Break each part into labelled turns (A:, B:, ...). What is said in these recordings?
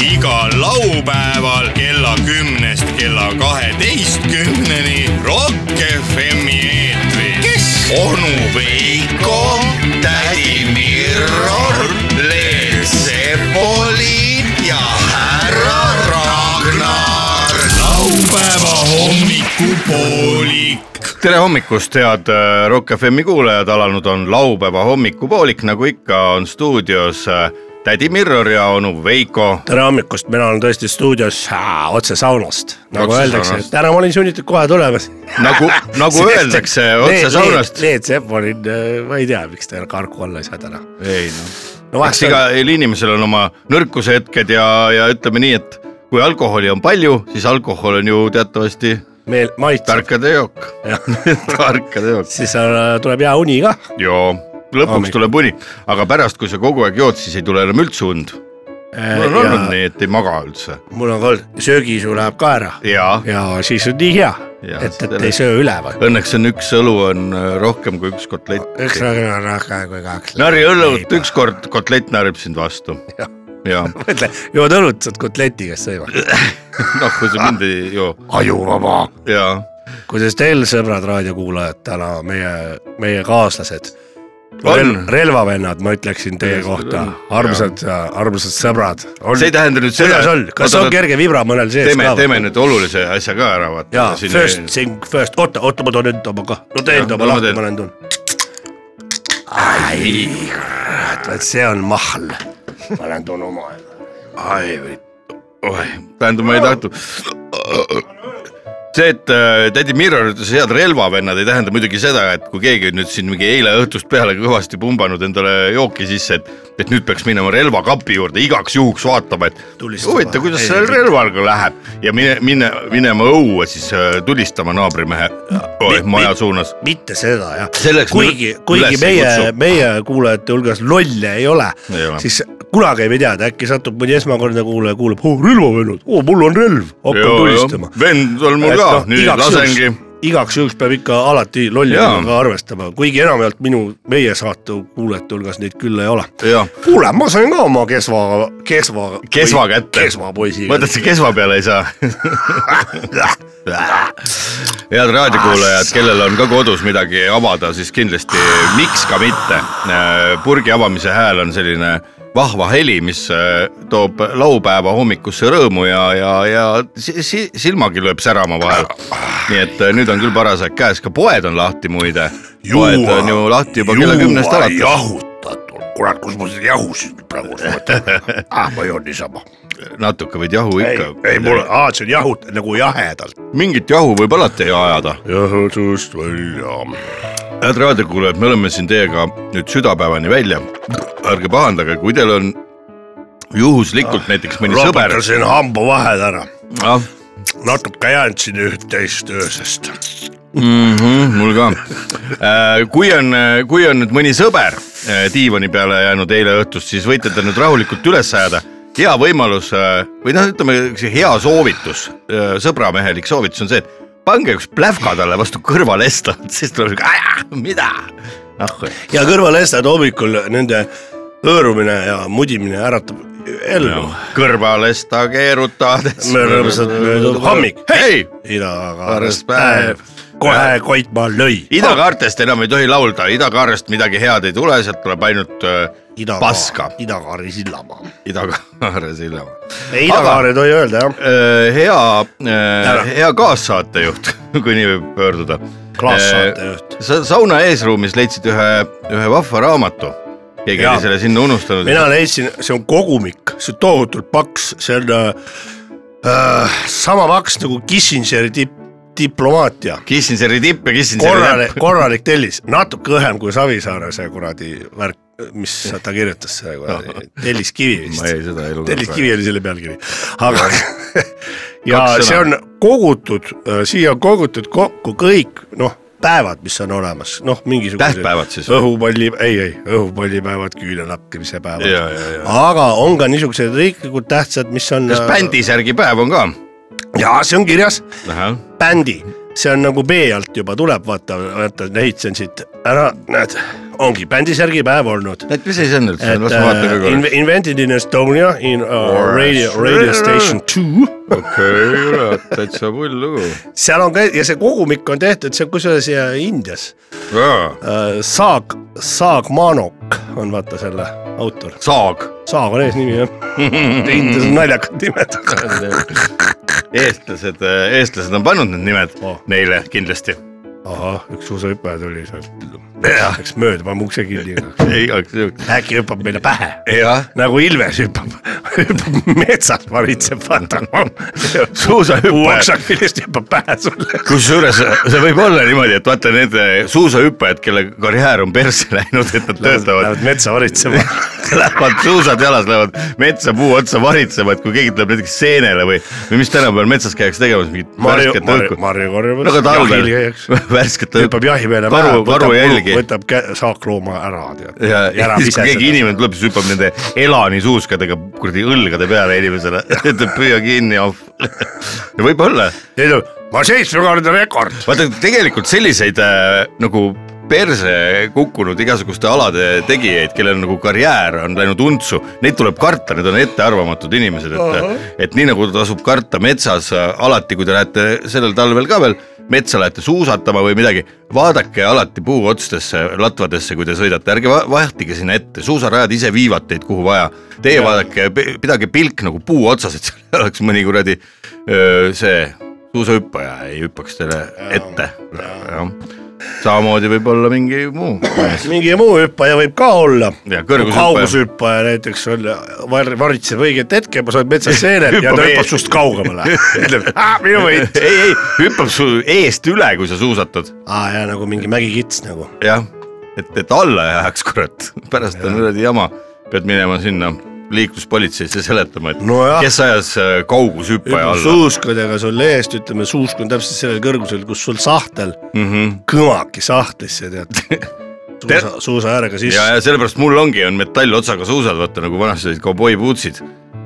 A: igal laupäeval kella kümnest kella kaheteistkümneni Rock FM-i eetris . kes ? onu Veiko , tädi Mirror , Leel Sepoli ja härra Ragnar . laupäeva hommikupoolik . tere hommikust , head äh, Rock FM-i kuulajad , alanud on laupäeva hommikupoolik , nagu ikka on stuudios äh, tädi Mirror ja onu Veiko
B: tere hommikust , mina olen tõesti stuudios aa, otse saunast , nagu
A: Otse
B: otse öeldakse ,
A: saunast.
B: et täna ma olin sunnitud kohe tulema .
A: nagu , nagu öeldakse otse saunast .
B: Leet Sepp olin , äh, ma ei tea , miks ta karku olla ei saa täna .
A: ei noh ,
B: no
A: eks
B: vahet ei ole ,
A: igal inimesel on oma nõrkuse hetked ja , ja ütleme nii , et kui alkoholi on palju , siis alkohol on ju teatavasti
B: meil maitseb ,
A: tarkade jook , tarkade jook .
B: siis äh, tuleb hea uni ka .
A: joo , lõpuks
B: Hommikul.
A: tuleb uni , aga pärast , kui sa kogu aeg jood , siis ei tule enam üldse und . mul on olnud nii , et ei maga üldse .
B: Äh, mul on ka olnud , söögiisu läheb ka ära
A: jaa ,
B: ja siis on nii hea ,
A: Jaa,
B: et , et
A: sellest-
B: ei söö üleval .
A: õnneks on üks õlu on äh, rohkem kui üks kotlett .
B: üks rõõm on rohkem kui kaks .
A: nari õlut , ükskord kotlett narib sind vastu . jaa ,
B: mõtle , jood õlut , saad kotleti käest sõima .
A: noh , kui sa mind ei joo ,
B: ajuvaba
A: jaa
B: kuidas teil , sõbrad raadiokuulajad , täna meie , meie kaaslased ,
A: On.
B: relvavennad , ma ütleksin teie kohta , armsad , armsad sõbrad .
A: see ei tähenda nüüd seda ,
B: kuidas on , kas on kerge vibra mõnel sees
A: teeme ,
B: ka ?
A: teeme nüüd olulise asja ka ära , vaata .
B: jaa , first thing first , oota , oota , ma toon enda oma ka , no tee
A: Jah,
B: enda
A: no
B: oma
A: ma
B: lahti ,
A: teen.
B: ma lähen tulen . ai , kurat , vot see on mahl . ma lähen toon oma .
A: ai , oih , tähendab , ma ei tahtnud . see , et äh, tädi Mirror ütles , head relvavennad , ei tähenda muidugi seda , et kui keegi on nüüd siin mingi eile õhtust peale kõvasti pumbanud endale jooki sisse , et , et nüüd peaks minema relvakapi juurde igaks juhuks vaatama , et
B: Tulistama.
A: huvitav , kuidas
B: Ei,
A: sellel
B: mitte.
A: relvaga läheb ja mine , mine , minema õue siis äh, tulistama naabrimehe äh, oih,
B: mi-
A: maja suunas .
B: mitte seda jah
A: Selleks . me
B: kuigi
A: üles ,
B: kuigi
A: ei
B: meie ,
A: kutsu.
B: meie kuulajate hulgas lolle ei ole
A: Ei ole. ,
B: siis kunagi ei tea , äkki satub mõni esmakordne kuulaja , kuuleb , oh relvavennad , oo mul on relv , hakkan tulistama .
A: vend on mul ka , nüüd lasengi .
B: noh, igaks juhuks peab ikka alati
A: Jaa.
B: lolliga arvestama , kuigi enamjaolt minu , meie saate kuulajate hulgas neid küll ei ole .
A: jah ,
B: kuule , ma sain ka oma kesva , kesva .
A: Kesva kätte.
B: kesva poisi .
A: vaata , et sa kesva peale ei saa . head raadiokuulajad , kellel on ka kodus midagi avada , siis kindlasti miks ka mitte . purgi avamise hääl on selline vahva heli , mis äh, toob laupäeva hommikusse rõõmu ja , ja , ja si si silmagi lööb särama vahel . nii et äh, nüüd on küll paras aeg käes , ka poed on lahti muide . poed
B: äh,
A: on ju lahti juba kella kümnest alates .
B: jahutatud , kurat , kus ma siin jahusin praegu , ah ma joon niisama .
A: natuke võid jahu
B: ei
A: ikka .,
B: ei mul , aa , see on jahut- nagu jahedalt .
A: mingit jahu võib alati ajada .
B: jahedust välja .
A: head raadiokuulajad , me oleme siin teiega nüüd südapäevani välja . ärge pahandage , kui teil on juhuslikult näiteks mõni sõber . Ah,
B: raputasin hambavahed ära , natuke jäänud siin üht-teist öösest .
A: Mm -hmm, mul ka . kui on , kui on nüüd mõni sõber äh, diivani peale jäänud eile õhtust , siis võite ta nüüd rahulikult üles ajada . hea võimalus äh, või noh , ütleme see hea soovitus , sõbramehelik soovitus on see , et pange üks plähka talle vastu kõrvalesta , siis tuleb siuke , mida , ah
B: ja kõrvalestad hommikul nende hõõrumine ja mudimine äratab ellu .
A: kõrvalesta keerutades .
B: me rõõmsad möödub hommik ,
A: hei ,
B: idakaares päev , kohe Koit maal lõi .
A: idakaartest enam ei tohi laulda , idakaarest midagi head ei tule , sealt tuleb ainult äh, paska .
B: idakaari sillamaa .
A: idakaare silma .
B: ei , idakaari ei tohi öelda jah .
A: hea ,
B: Ära.
A: hea kaassaatejuht , kui nii võib pöörduda .
B: klaassaatejuht .
A: sa sauna eesruumis leidsid ühe , ühe vahva raamatu . keegi
B: Jaa.
A: oli selle sinna unustanud .
B: mina leidsin , see on kogumik , see on tohutult paks , see on äh, sama paks nagu Kissingeri dip- , diplomaatia .
A: Kissingeri tipp ja Kissingeri
B: korralik
A: näpp .,
B: korralik tellis , natuke õhem kui Savisaare see kuradi värk , mis ta kirjutas , see kuradi telliskivi
A: ma
B: vist .
A: ei , seda ei lugenud .
B: telliskivi oli selle pealkiri , aga ja
A: Kaks sõna.
B: see on kogutud , siia on kogutud kokku kõik noh , päevad , mis on olemas , noh , mingisugused
A: Tähtpäevad siis?
B: õhupalli , ei , ei õhupallipäevad , küünelakkimise
A: ja ,
B: päevad ,
A: ja , ja .
B: aga on ka niisugused riiklikult tähtsad , mis on .
A: kas ? bändisärgi päev on ka ?
B: jaa , see on kirjas ,
A: ahah
B: bändi , see on nagu B alt juba tuleb , vaata , vaata , lehitsen siit ära , näed , ongi bändisärgipäev olnud .
A: et mis asi see on üldse ,
B: et
A: las ma vaatan ka
B: äh,
A: korra .
B: inv- invented in Estonia in uh, radio , radio station two .
A: okei , täitsa pull lugu .
B: seal on ka ja see kogumik on tehtud , see on kusjuures ja Indias uh, . Saag , Saag Manok on vaata selle autor .
A: saag .
B: Saag er on eesnimi jah . er Indias on naljakad nimed .
A: eestlased , eestlased on pannud need nimed
B: Oh.
A: neile kindlasti .
B: ahah , üks suusahüppaja tuli seal . Läks mööda , paneme ukse kinni .
A: igaks juhuks .
B: äkki hüppab meile pähe .
A: jah ,
B: nagu ilves hüppab , hüppab metsas , varitseb , vaata .
A: suusahüppajad .
B: puuoksakilist hüppab pähe sulle .
A: kusjuures eh, see võib olla niimoodi , et vaata need eh, suusahüppajad , kelle karjäär on persse läinud , et nad töötavad ,
B: Lähevad metsa varitsema .
A: lähevad suusad jalas , lähevad metsa puu otsa varitsema , et kui keegi tuleb näiteks seenele või , või mis tänapäeval metsas käiakse tegemas , mingit
B: marju ,
A: värsket
B: marju ,
A: õhku .
B: marju korjamas .
A: no aga talvel värsket õhku
B: hüppab . jahi peale
A: Karu- karu jälgi.
B: võtab kä- saaklooma ära , tead .
A: ja ja siis , kui keegi inimene tuleb , siis hüppab nende elani suuskadega kuradi õlgade peale inimesele , ütleb püüa kinni , ahv . võib-olla ,
B: inimene . ma seitsmekordne rekord .
A: vaata tegelikult selliseid äh, nagu perse kukkunud igasuguste alade tegijaid , kellel nagu karjäär on läinud untsu , neid tuleb karta , need on ettearvamatud inimesed , et et nii nagu tasub karta metsas äh, alati , kui te lähete sellel talvel ka veel metsa lähete suusatama või midagi , vaadake alati puu otstesse , latvadesse , kui te sõidate , ärge va- vahtige sinna ette , suusarajad ise viivad teid , kuhu vaja . Teie vaadake , pidage pilk nagu puu otsas , et seal ei oleks mõni kuradi öö, see suusahüppaja ei hüppaks teile ette . samamoodi võib olla mingi muu
B: mingi muu hüppaja võib ka olla .
A: Ja kõrgushüppaja.
B: kaugushüppaja näiteks on , varitseb õiget hetke , sa oled metsas seenel ja ta
A: Hüppab
B: hüppab
A: ees.
B: sinust kaugemale . ütleb , minu võit .
A: ei , ei hüppab su eest üle , kui sa suusatad ,
B: aa jaa , nagu mingi mägikits nagu .
A: jah , et , et alla ei läheks , kurat , pärast on kuradi jama , pead minema sinna liikluspolitseisse seletama , et
B: Nojah.
A: kes ajas äh, kaugushüppaja
B: hüppab
A: alla .
B: suuskadega sulle eest , ütleme suusk on täpselt sellel kõrgusel , kus sul sahtel mm
A: Mhm.
B: -hmm. kõvaki sahtlisse tead suusa , suusa äärega sisse
A: ja , ja sellepärast mul ongi , on metallotsaga suusad , vaata nagu vanasti olid kauboipuutsid ,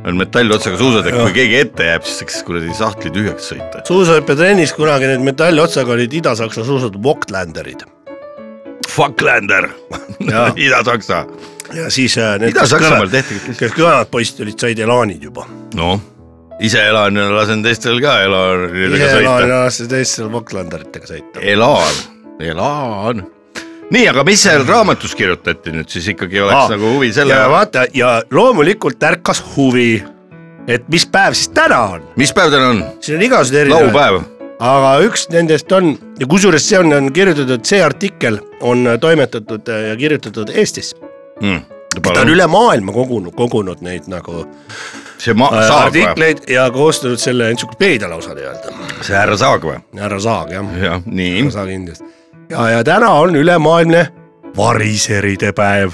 A: on metallotsaga suusad , et kui keegi ette jääb , siis saaks kuradi sahtli tühjaks sõita .
B: suusahüppetrennis kunagi need metallotsaga olid Ida-Saksa suusad Woklanderid
A: Fucklander , Ida-Saksa .
B: ja siis äh, need , kes
A: Ida-Saksamaal
B: kõvemad ,
A: tehti kõik .
B: kes kõvemad poisid olid , said elaanid juba .
A: noh , ise elan ja lasen teistel ka elanidega
B: elaanid
A: sõita .
B: alates teistel Woklanderitega sõita .
A: elan , elan . nii , aga mis seal raamatus kirjutati nüüd siis ikkagi oleks
B: Aa,
A: nagu huvi selle
B: Ah, ja , vaata ja loomulikult ärkas huvi , et mis päev siis täna on ,
A: mis päev täna on ?
B: siin on igasuguseid erinevaid
A: laupäev ,
B: aga üks nendest on ja kusjuures see on , on kirjutatud , see artikkel on äh, toimetatud äh, ja kirjutatud Eestis . ta on
A: Hmm, palun ,
B: üle maailma kogunud , kogunud neid nagu
A: see ma- ,
B: äh,
A: Saag või ?
B: artikleid ja koostanud selle entsüklopeedia lausa nii-öelda .
A: see härra Saag või ?
B: härra Saag jah , härra
A: jah , nii .
B: Saag Indiast . ja , ja täna on ülemaailmne variseride päev .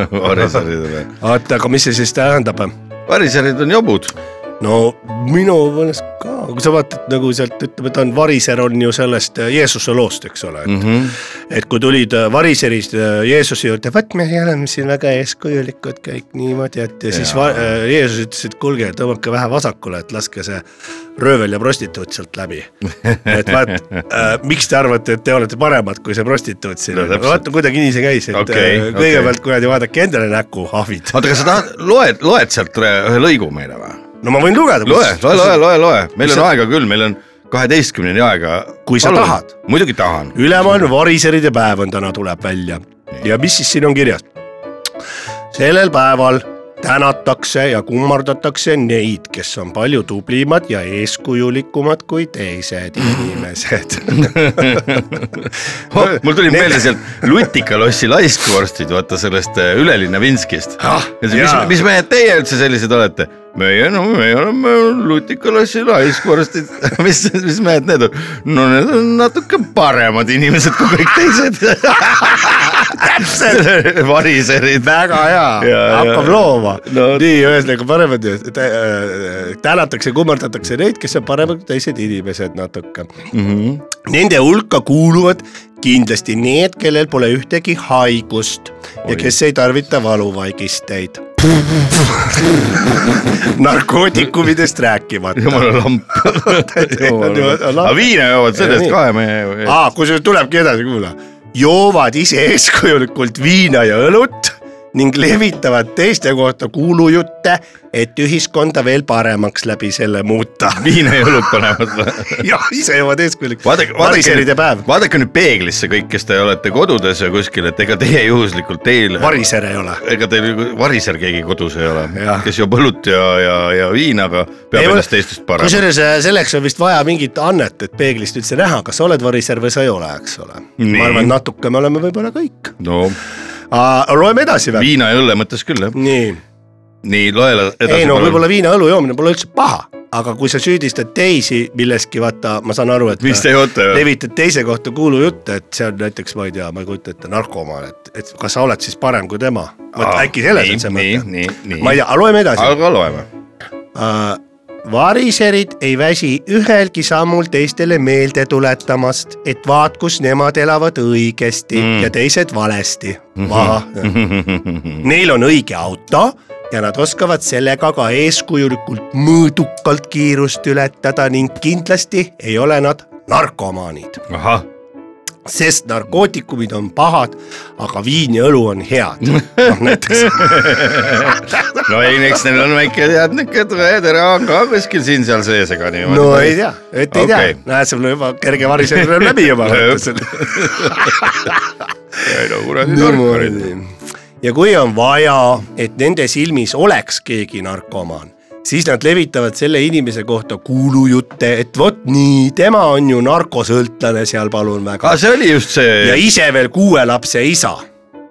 A: variserid või ?
B: vaata , aga mis see siis tähendab ?
A: variserid on jobud .
B: no minu meelest ka , kui sa vaatad nagu sealt ütleme , ta on variser on ju sellest äh, Jeesuse loost , eks ole ,
A: Mhm.
B: et et kui tulid äh, variserist äh, Jeesuse juurde , vot me oleme siin väga eeskujulikud kõik niimoodi , et ja siis
A: Jaa.
B: va- äh, Jeesus ütles , et kuulge , tõmmake vähe vasakule , et laske see röövel ja prostituut sealt läbi . et vaat äh, , miks te arvate , et te olete paremad kui see prostituut siin
A: No
B: no, ,
A: täpselt.
B: vaata kuidagi nii see käis , et
A: Okei,
B: okay,
A: okei.
B: kõigepealt okay. kuradi vaadake endale näkku , ahvid .
A: oota , kas sa tahad , loed , loed sealt re- ühe lõigu meile või ?
B: no ma võin lugeda .
A: loe , loe , loe ,. loe , loe , meil on aega küll , meil on kaheteistkümneni aega .
B: Kui sa tahad. .
A: muidugi tahan .
B: ülemaailmne variseride päev on täna , tuleb välja . ja mis siis siin on kirjas ? sellel päeval tänatakse ja kummardatakse neid , kes on palju tublimad ja eeskujulikumad kui teised inimesed Äh,
A: oh, . mul tuli meelde sealt Lutika-lossi laiskuvorstid , vaata sellest äh, Ülelinna Vinskist .
B: Ah,
A: mis
B: jaa. ,
A: mis mehed teie üldse sellised olete ? meie , no meie oleme Lutika-lossi laiskuvorstid . mis , mis mehed need on ? no need on natuke paremad inimesed kui kõik teised . täpselt . variserid .
B: väga hea
A: Jaa, ,
B: hakkab
A: jaa.
B: looma
A: No.
B: no. . nii , ühesõnaga paremad , tänatakse , kummardatakse neid , kes on paremad kui teised inimesed natuke mm .
A: Mhm.
B: -hmm. Nende hulka kuuluvad kindlasti need , kellel pole ühtegi haigust Oi. ja kes ei tarvita valuvaigisteid . narkootikumidest rääkimata .
A: jumala lamp .
B: Jumala lamp.
A: aga viina joovad sellest
B: Nii. Ah.
A: kahe mehe .
B: aa , kusjuures tulebki edasi , kuula . joovad ise eeskujulikult viina ja õlut ning levitavad teiste kohta kuulujutte , et ühiskonda veel paremaks läbi selle muuta .
A: viina ja õlut panevad või ?
B: jah , ise joovad eeskujulikult .
A: vaadake ,
B: variseride päev ,
A: vaadake nüüd peeglisse kõik , kes te olete kodudes ja kuskil , et ega teie juhuslikult teil ,
B: variser ei ole .
A: ega teil ju variser keegi kodus ei ole
B: Jah. ,
A: kes joob õlut ja , ja , ja viina , aga peab
B: Ei ole.
A: ennast teistest paremaks .
B: kusjuures äh, selleks on vist vaja mingit annet , et peeglist üldse näha , kas sa oled variser või sa ei ole , eks ole .
A: Nii.
B: ma arvan , natuke me oleme võib-olla kõik .
A: no
B: loeme edasi või ?
A: viina ja õlle mõttes küll jah ,
B: nii
A: nii loe la- edasi
B: ei no võib-olla viina õlu joomine pole üldse paha , aga kui sa süüdistad teisi milleski , vaata , ma saan aru , et
A: mis te joote ?
B: levitad teise kohta kuulujutte , et see on näiteks , ma ei tea , ma ei kujuta ette , narkomaan , et , et kas sa oled siis parem kui tema . vot äkki selles on see mõte .
A: nii , nii ,
B: ma
A: nii ,
B: ei tea , aga loeme edasi .
A: aga loeme .
B: variserid Äh, ei väsi ühelgi sammul teistele meelde tuletamast , et vaat kus nemad elavad õigesti mm. ja teised valesti . Neil on õige auto ja nad oskavad sellega ka eeskujulikult mõõdukalt kiirust ületada ning kindlasti ei ole nad narkomaanid ,
A: ahah ,
B: sest narkootikumid on pahad , aga viin ja õlu on head . noh näiteks
A: no ei , eks neil on väike teadnikud , veetera on ka kuskil siin-seal sees , ega niimoodi .
B: no ei tea , et ei okay.
A: Okei.
B: tea , näed , sul on juba kerge variseer tuleb läbi juba .
A: ei no kuradi narkorid .
B: ja kui on vaja , et nende silmis oleks keegi narkomaan , siis nad levitavad selle inimese kohta kuulujutte , et vot nii , tema on ju narkosõltlane seal , palun väga .
A: aa , see oli just
B: ja
A: see ,
B: ise veel kuue lapse isa .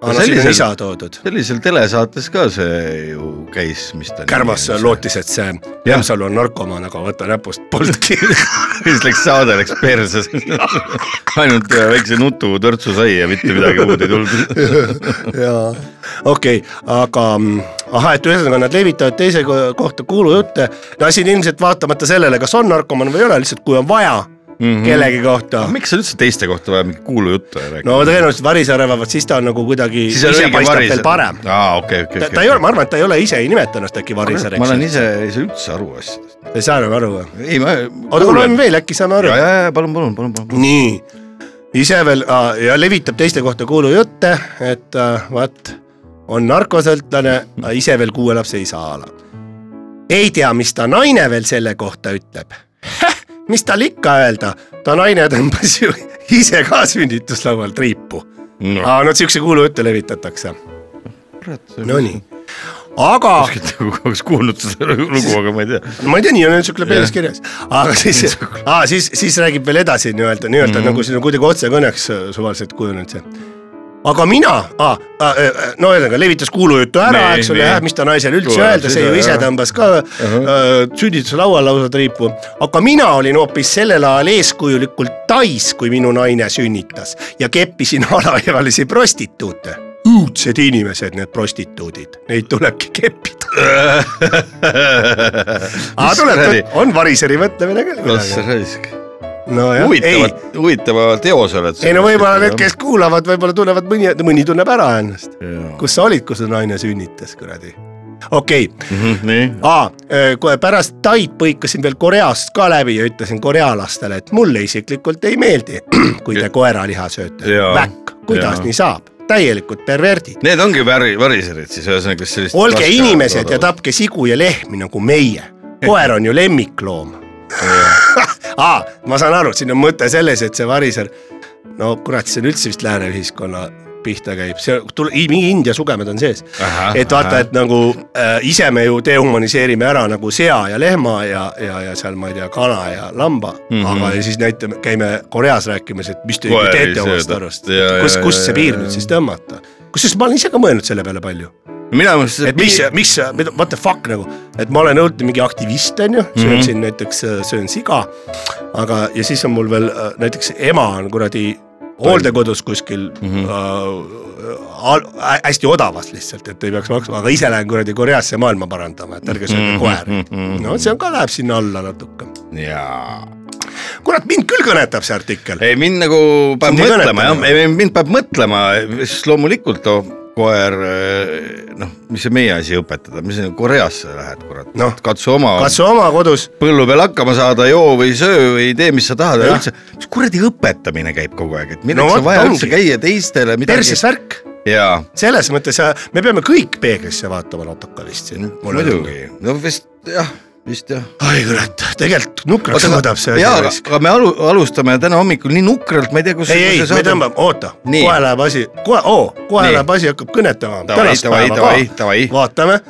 B: aga no, siin on
A: sellisel-
B: isa toodud .
A: sellisel telesaates ka see ju käis , mis ta .
B: Kärmas lootis , et see
A: Jah.
B: Jämsalu on narkomaan , aga võta näpust polnudki .
A: siis läks saade läks perses . ainult äh, väikse nutu törtsu sai ja mitte midagi muud ei tulnud .
B: jaa , okei okay, , aga mm, ahah , et ühesõnaga nad levitavad teise ko- kohta kuulujutte . no siin ilmselt vaatamata sellele , kas on narkomaan või ei ole , lihtsalt kui on vaja mm
A: Mhm.
B: -hmm. kellegi kohta .
A: miks sa üldse teiste kohta vaja mingit kuulujuttu ei räägi ?
B: no tõenäoliselt varise arvavad , siis ta on nagu kuidagi
A: siis on
B: ise
A: õige
B: paistab
A: varis
B: veel . parem .
A: aa , okei , okei
B: ta , ta ei ole , ma arvan , et ta ei ole ise ei nimeta ennast äkki varisele ,
A: ma
B: eks
A: olen
B: ju .
A: ise , ei saa üldse aru asjadest .
B: ei saa nagu aru või ?
A: ei , ma .
B: oota , kuule , me veel äkki saame aru
A: ja , ja , ja palun , palun , palun , palun .
B: nii , ise veel aa, ja levitab teiste kohta kuulujutte , et äh, vaat on narkosõltlane , ise veel kuue lapse isa a la . ei tea , mis ta naine veel selle kohta ütleb . mis tal ikka öelda , ta naine tõmbas ju ise ka sünnituslaual triipu .
A: no
B: aa , no siukse kuulujutte levitatakse ,
A: kurat ,
B: nonii . aga
A: nagu oleks kuulnud seda lugu , aga ma ei tea .
B: ma ei tea , nii on entsükle peelis kirjas , aga siis , siis , siis räägib veel edasi nii-öelda , nii-öelda mm
A: Mhm.
B: -hmm. nagu siin on kuidagi otsekõneks äh, suvaliselt kujunenud see . aga mina , no ühesõnaga levitas kuulujuttu ära ,
A: Nii,
B: eks ole
A: nii. ,
B: mis ta naisele üldse
A: Tuleb
B: öelda , see
A: seda,
B: ju ise
A: jah. Mhm.
B: tõmbas ka äh, sünnituslaual lausa triipu . aga mina olin hoopis sellel ajal eeskujulikult tais , kui minu naine sünnitas ja keppisin alaealisi prostituute õudsed inimesed , need prostituudid , neid tulebki keppida .
A: Ah,
B: aga tuleb , on variseri mõtlemine küll
A: las
B: midagi .
A: raisk .
B: nojah , ei ,
A: huvitavat , huvitava teose oled sa .
B: ei no võib-olla need , kes kuulavad , võib-olla tunnevad mõni , mõni tunneb ära ennast . kus sa olid , kui su naine sünnitas , kuradi . okei okay. ,
A: Mhm, nii ,
B: kohe pärast Taid põikasin veel Koreast ka läbi ja ütlesin korealastele , et mulle isiklikult ei meeldi , kui te koeraliha sööte .
A: Jaa.
B: väkk , kuidas
A: Jaa.
B: nii saab , täielikud perverdid .
A: need ongi väri , variserid siis ühesõnaga , kes sellist .
B: olge inimesed ja . tapke sigu ja lehmi nagu meie . koer on ju lemmikloom . aa , ma saan aru , siin on mõte selles , et see variser , no kurat , see on üldse vist lääne ühiskonna pihta käib , see tule- , mingi India sugemed on sees .
A: Ahah,
B: et
A: ahah.
B: vaata , et nagu äh, ise me ju dehumaniseerime ära nagu sea ja lehma ja , ja , ja seal ma ei tea , kana ja lamba mm , -hmm. aga ja siis näitame , käime Koreas rääkimas , et mis te
A: Mhm. Koeri
B: ikka teete omast
A: sööda.
B: arust
A: Ja, ja, ,
B: kus , kust
A: ja,
B: see
A: ja,
B: piir
A: ja.
B: nüüd siis tõmmata . kusjuures ma olen ise ka mõelnud selle peale palju
A: mina mõtlesin ,
B: et mis , mis , what the fuck nagu , et ma olen õudne mingi aktivist , on ju , söön mm -hmm. siin näiteks , söön siga , aga , ja siis on mul veel äh, näiteks ema on kuradi hooldekodus kuskil mm -hmm. äh, hästi odavas lihtsalt , et ei peaks maksma , aga ise lähen kuradi Koreasse maailma parandama , et ärge sööge koeri . no see on ka , läheb sinna alla natuke .
A: jaa .
B: kurat , mind küll kõnetab see artikkel .
A: ei mind nagu peab
B: Sind ei
A: mõtlema
B: kõneta
A: jah ,
B: nagu.
A: ei mind peab mõtlema , siis loomulikult oh, koer , noh , mis see meie asi õpetada , mis sa nagu Koreasse lähed , kurat ,
B: Noh.
A: katsu oma
B: kas oma kodus ,
A: põllu peal hakkama saada , joo või söö või tee , mis sa tahad ,
B: Jah.
A: aga üldse , mis kuradi õpetamine käib kogu aeg , et
B: No
A: milleks no, on
B: vot,
A: vaja
B: ongi.
A: üldse käia teistele midagi
B: perses . värk ,
A: jaa ,
B: selles mõttes äh, me peame kõik peeglisse vaatama natuke vist siin .
A: muidugi , no vist jah , vist jah .
B: ai kurat , tegelikult nukraks
A: jaa ,
B: võtab see asi
A: aga
B: raisk .
A: aga me alu- , alustame täna hommikul nii nukralt , ma ei tea , kus
B: ei , ei , me . tõmbame , oota ,
A: Nii.
B: kohe läheb asi , kohe , oo , kohe
A: Nii.
B: läheb asi , hakkab kõnetama .
A: Davai, davai, davai, davai.
B: vaatame ,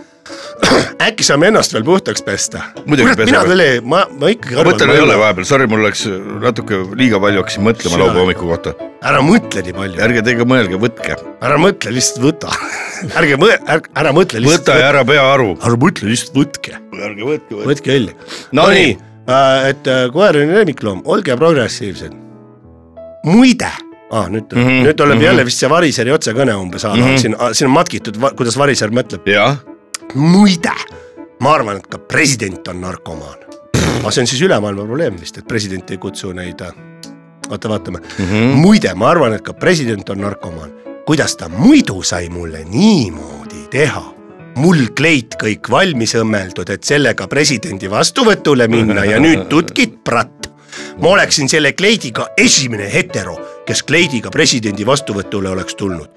B: äkki saame ennast veel puhtaks pesta .
A: Muidugi peseme.
B: mina küll ei , ma , ma ikkagi
A: ma mõtlen ,
B: ma
A: ei ole vahepeal , sorry , mul läks natuke liiga palju , hakkasin mõtlema
B: Sina-
A: laupäeva hommiku kohta .
B: ära mõtle nii palju ,
A: ärge teiega mõelge , võtke ,
B: ära mõtle , lihtsalt võta . ärge mõe- , ärge , ära mõtle , lihtsalt
A: võta ja . ära pea aru .
B: ära mõtle , lihtsalt võtke ,
A: ärge võtke , võtke .
B: võtke õlli .
A: No nii. ,
B: et äh, koer on lemmikloom , olge progressiivsed . muide , ah, nüüd tuleb mm ,
A: Mhm,
B: -hmm. nüüd tuleb
A: mhm.
B: mm -hmm. jälle vist see Variseri otsekõne umbes ,
A: Mhm.
B: mm -hmm. siin , siin on matkitud , kuidas Variser mõtleb .
A: jah ,
B: muide , ma arvan , et ka president on narkomaan . aga see on siis ülemaailma probleem vist , et president ei kutsu neid , oota vaatame
A: Mhm.
B: mm , -hmm. muide , ma arvan , et ka president on narkomaan . kuidas ta muidu sai mulle niimoodi teha ? mul kleit kõik valmis õmmeldud , et sellega presidendi vastuvõtule minna ja nüüd tutkid pratt . ma oleksin selle kleidiga esimene hetero , kes kleidiga presidendi vastuvõtule oleks tulnud .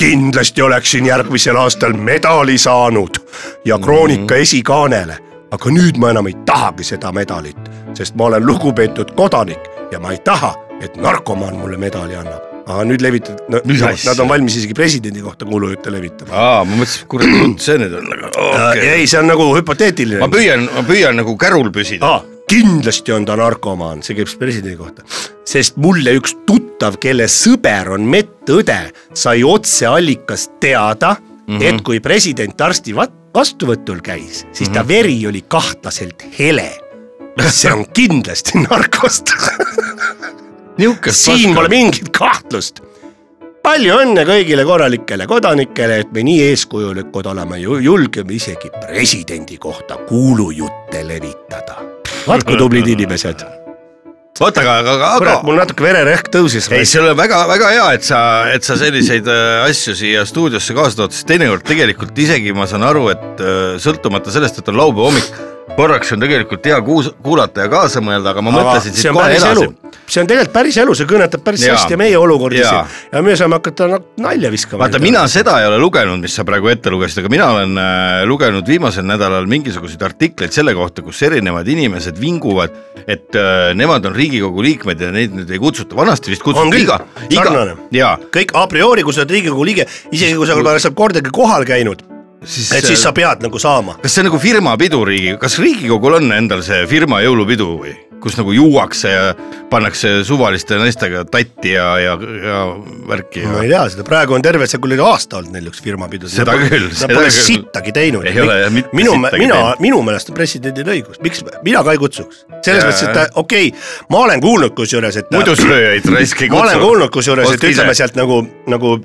B: kindlasti oleksin järgmisel aastal medali saanud ja kroonika
A: Mhm.
B: esikaanele , aga nüüd ma enam ei tahagi seda medalit , sest ma olen lugupeetud kodanik ja ma ei taha , et narkomaan mulle medali annab . aga nüüd levitad no, ,
A: Mis asja?
B: nad on valmis isegi presidendi kohta kuulujutte levitama .
A: aa , ma mõtlesin , kuradi jutt see nüüd on , aga okei
B: Okay.
A: okay. .
B: ei , see on nagu hüpoteetiline .
A: ma püüan , ma püüan nagu kärul püsida .
B: ah, . kindlasti on ta narkomaan , see käib siis presidendi kohta . sest mulle üks tuttav , kelle sõber on medõde , sai otseallikast teada mm , -hmm. et kui president arsti va- vastuvõtul käis , siis mm -hmm. ta veri oli kahtlaselt hele . see on kindlasti narkost .
A: niisugust
B: siin pole mingit kahtlust . palju õnne kõigile korralikele kodanikele , et me nii eeskujulikud oleme , julgeme isegi presidendi kohta kuulujutte levitada . vaat kui tublid inimesed .
A: oota , aga , aga , aga
B: kurat , mul natuke vererõhk tõusis .
A: ei , see on väga-väga hea , et sa , et sa selliseid äh, asju siia stuudiosse kaasa tood , sest teinekord tegelikult isegi ma saan aru , et äh, sõltumata sellest , et on laupäeva hommik , korraks on tegelikult hea kuus- , kuulata ja kaasa mõelda , aga ma aga mõtlesin siit kohe edasi .
B: see on tegelikult päris elu , see kõnetab päris
A: Jaa.
B: ja. hästi meie olukorda
A: Jaa.
B: siin ja me saame hakata na- nalja viskama .
A: vaata , mina . seda ei ole lugenud , mis sa praegu ette lugesid , aga mina olen äh, lugenud viimasel nädalal mingisuguseid artikleid selle kohta , kus erinevad inimesed vinguvad , et äh, nemad on Riigikogu liikmed ja neid nüüd ei kutsuta , vanasti vist
B: On
A: kutsuti
B: küll,
A: iga , iga
B: sarnane. ,
A: jaa .
B: kõik a priori , kui sa oled Riigikogu liige , isegi kui sa pole seal kordagi kohal käinud , et
A: äh,
B: siis sa pead nagu saama .
A: kas see on nagu firmapidu riigi , kas Riigikogul on endal see firma jõulupidu või , kus nagu juuakse ja pannakse suvaliste naistega tatti ja , ja , ja värki
B: ma
A: ja
B: ei tea seda , praegu on terve see kuradi aasta olnud neil üks firmapidu .
A: Seda küll,
B: Nad
A: seda
B: pole
A: küll.
B: sittagi teinud .
A: Ei ole jah, mitte
B: minu ,
A: sittagi
B: mina
A: teinud. ,
B: minu meelest on presidendil õigus , miks mina ka ei kutsuks . selles
A: Jaa.
B: mõttes , et okei okay, , ma olen kuulnud kusjuures , et .
A: muidu sööjaid raisk ei
B: ma olen
A: kutsu .
B: kuulnud kusjuures , et
A: Ostke
B: ütleme
A: ise.
B: sealt nagu , nagu ,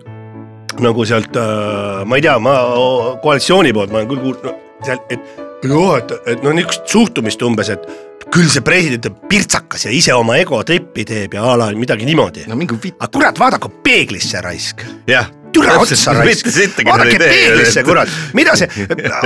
B: nagu sealt äh, , ma ei tea , ma o- koalitsiooni poolt ma olen küll kuulnud no, sealt , et no et , et no niisugust suhtumist umbes , et küll see president on pirtsakas ja ise oma ego trippi teeb ja a la midagi niimoodi .
A: no mingi vitt ,
B: aga kurat , vaadake peeglisse raisk
A: jah .
B: türa otsa raisk , vaadake peeglisse , kurat , mida see ,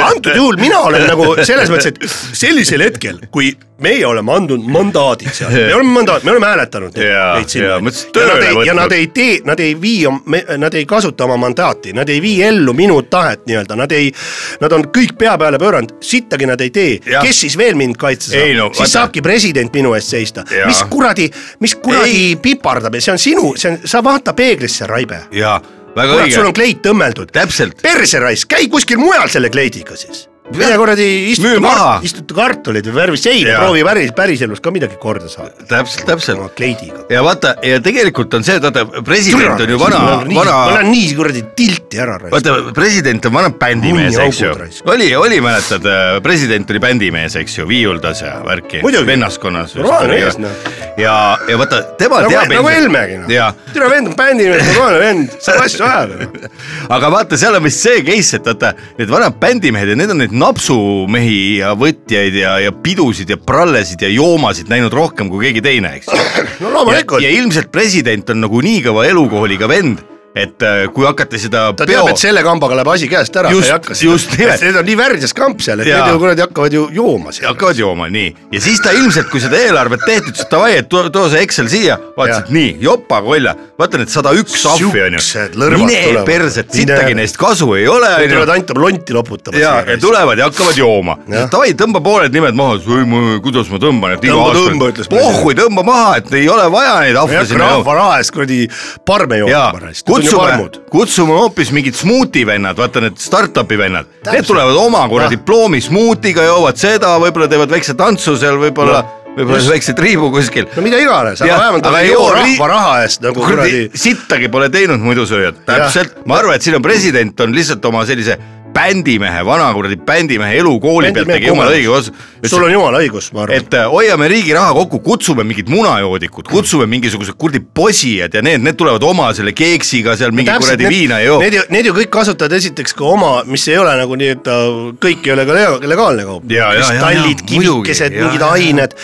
B: antud juhul mina olen nagu selles mõttes , et sellisel hetkel , kui meie oleme andnud mandaadi seal , me oleme mandaat , me oleme hääletanud neid-
A: Jaa,
B: neid sinna.
A: jaa, mõtlesin, et
B: ja
A: tööle
B: nad ei , ja
A: võtnud.
B: nad ei tee , nad ei vii , nad ei kasuta oma mandaati , nad ei vii ellu minu tahet nii-öelda , nad ei , nad on kõik pea peale pööranud , sittagi nad ei tee ,
A: Jah.
B: kes siis veel mind kaitse
A: Ei
B: saab ,
A: no,
B: siis
A: vaata.
B: saabki president minu eest seista ,
A: Jaa.
B: mis kuradi , mis kuradi pipardab ja see on sinu , see on , sa vaata peeglisse , Raibe
A: jaa , väga
B: kurat , sul
A: õige
B: on , kleit õmmeldud .
A: täpselt ,
B: perse raisk , käi kuskil mujal selle kleidiga siis . mine kuradi
A: Müü
B: istuta
A: maha. ,
B: istuta kartuleid või värvi seina ,
A: Jaa.
B: proovi päris , päriselus ka midagi korda saada .
A: täpselt , täpselt
B: oma kleidiga .
A: ja vaata ja tegelikult on see , et vaata president on ju vana ,
B: ma
A: vana
B: lähen nii kuradi tilti ära raisk .
A: vaata , president on vana bändimees ,
B: Munni
A: eks ju
B: augud raisk. .
A: oli , oli , mäletad , president oli bändimees , eks ju , viiuldas ja värki .
B: Muidugi.
A: vennaskonnas .
B: Normaalne mees, noh.
A: ja , ja vaata , tema
B: nagu
A: teab .
B: nagu Helmegi
A: jaa
B: noh ., türa vend on bändimees , normaalne vend , saab asju ajada . noh.
A: aga vaata , seal on vist see case , et vaata need vanad bändimehed ja need on neid napsumehi ja võtjaid ja , ja pidusid ja prallesid ja joomasid näinud rohkem kui keegi teine , eks ju .
B: no
A: ja, ja
B: loomulikult ,
A: ilmselt president on nagu nii kõva elukooliga vend , et äh, kui hakati seda
B: ta teab , et selle kambaga läheb asi käest ära , ta
A: Just-
B: ei hakka
A: just nimelt.
B: Need on nii värjas kamp seal , et
A: Jaa.
B: need ju kuradi hakkavad ju jooma seal .
A: hakkavad jooma , nii . ja siis ta ilmselt , kui seda eelarvet tehti , ütles et davai , et too, too see Excel siia , vaatas , et nii , jopakolja , vaata need sada üks ahvi on ju
B: Siuksed . lõrvad
A: mine
B: tulevad.
A: perset ,
B: Mine.
A: sittagi neist kasu ei ole ,
B: Need
A: on ju
B: tulevad ainult lonti loputama .
A: ja , ja . tulevad ja hakkavad jooma .
B: Jah.
A: davai , tõmba pooled nimed maha , ei ma , kuidas ma tõmban , et iga
B: Tõmba,
A: aasta .
B: tõmba, ütles president.
A: pohhui , tõmba maha , et ei ole vaja neid
B: ma ei
A: ahve
B: hakka
A: sinna jooma .
B: rahva raha eest kuradi parme
A: ja
B: jooma pärast .
A: kutsume , kutsume hoopis mingid smuuti vennad , vaata need startup'i vennad , need
B: Täpselt.
A: tulevad oma kuradi
B: Jah.
A: ploomi smuutiga , joovad seda , võib-olla teevad väikse tantsu seal võib-olla , võib-olla
B: just.
A: väikse triibu kuskil .
B: no mida iganes ,
A: Jah,
B: aga vähemalt
A: aga
B: nad ei
A: ei
B: joo
A: joo ri-
B: rahva raha eest nagu kuradi
A: kuradi . sittagi pole teinud muidu sööjad , täpselt , ma arvan , et siin on president on lihtsalt oma sellise bändimehe , vana kuradi bändimehe elukooli pealt
B: Bändimehe
A: tegi jumala
B: kogemus.
A: õige osa .
B: sul on jumala õigus , ma arvan .
A: et äh, hoiame riigi raha kokku , kutsume mingid munajoodikud , kutsume mingisugused kuradi posijad ja need , need tulevad oma selle keeksiga seal mingi
B: Täpselt,
A: kuradi
B: need-
A: viina ei joo .
B: Need ju , need ju kõik kasutavad esiteks ka oma , mis ei ole nagu nii , et ta kõik ei ole ka lega- legaalne kaup .
A: Jaa, jaa, jaa,
B: kristallid
A: jaa, ,
B: kivikesed ,
A: muidugi, jaa,
B: mingid
A: jaa,
B: ained ,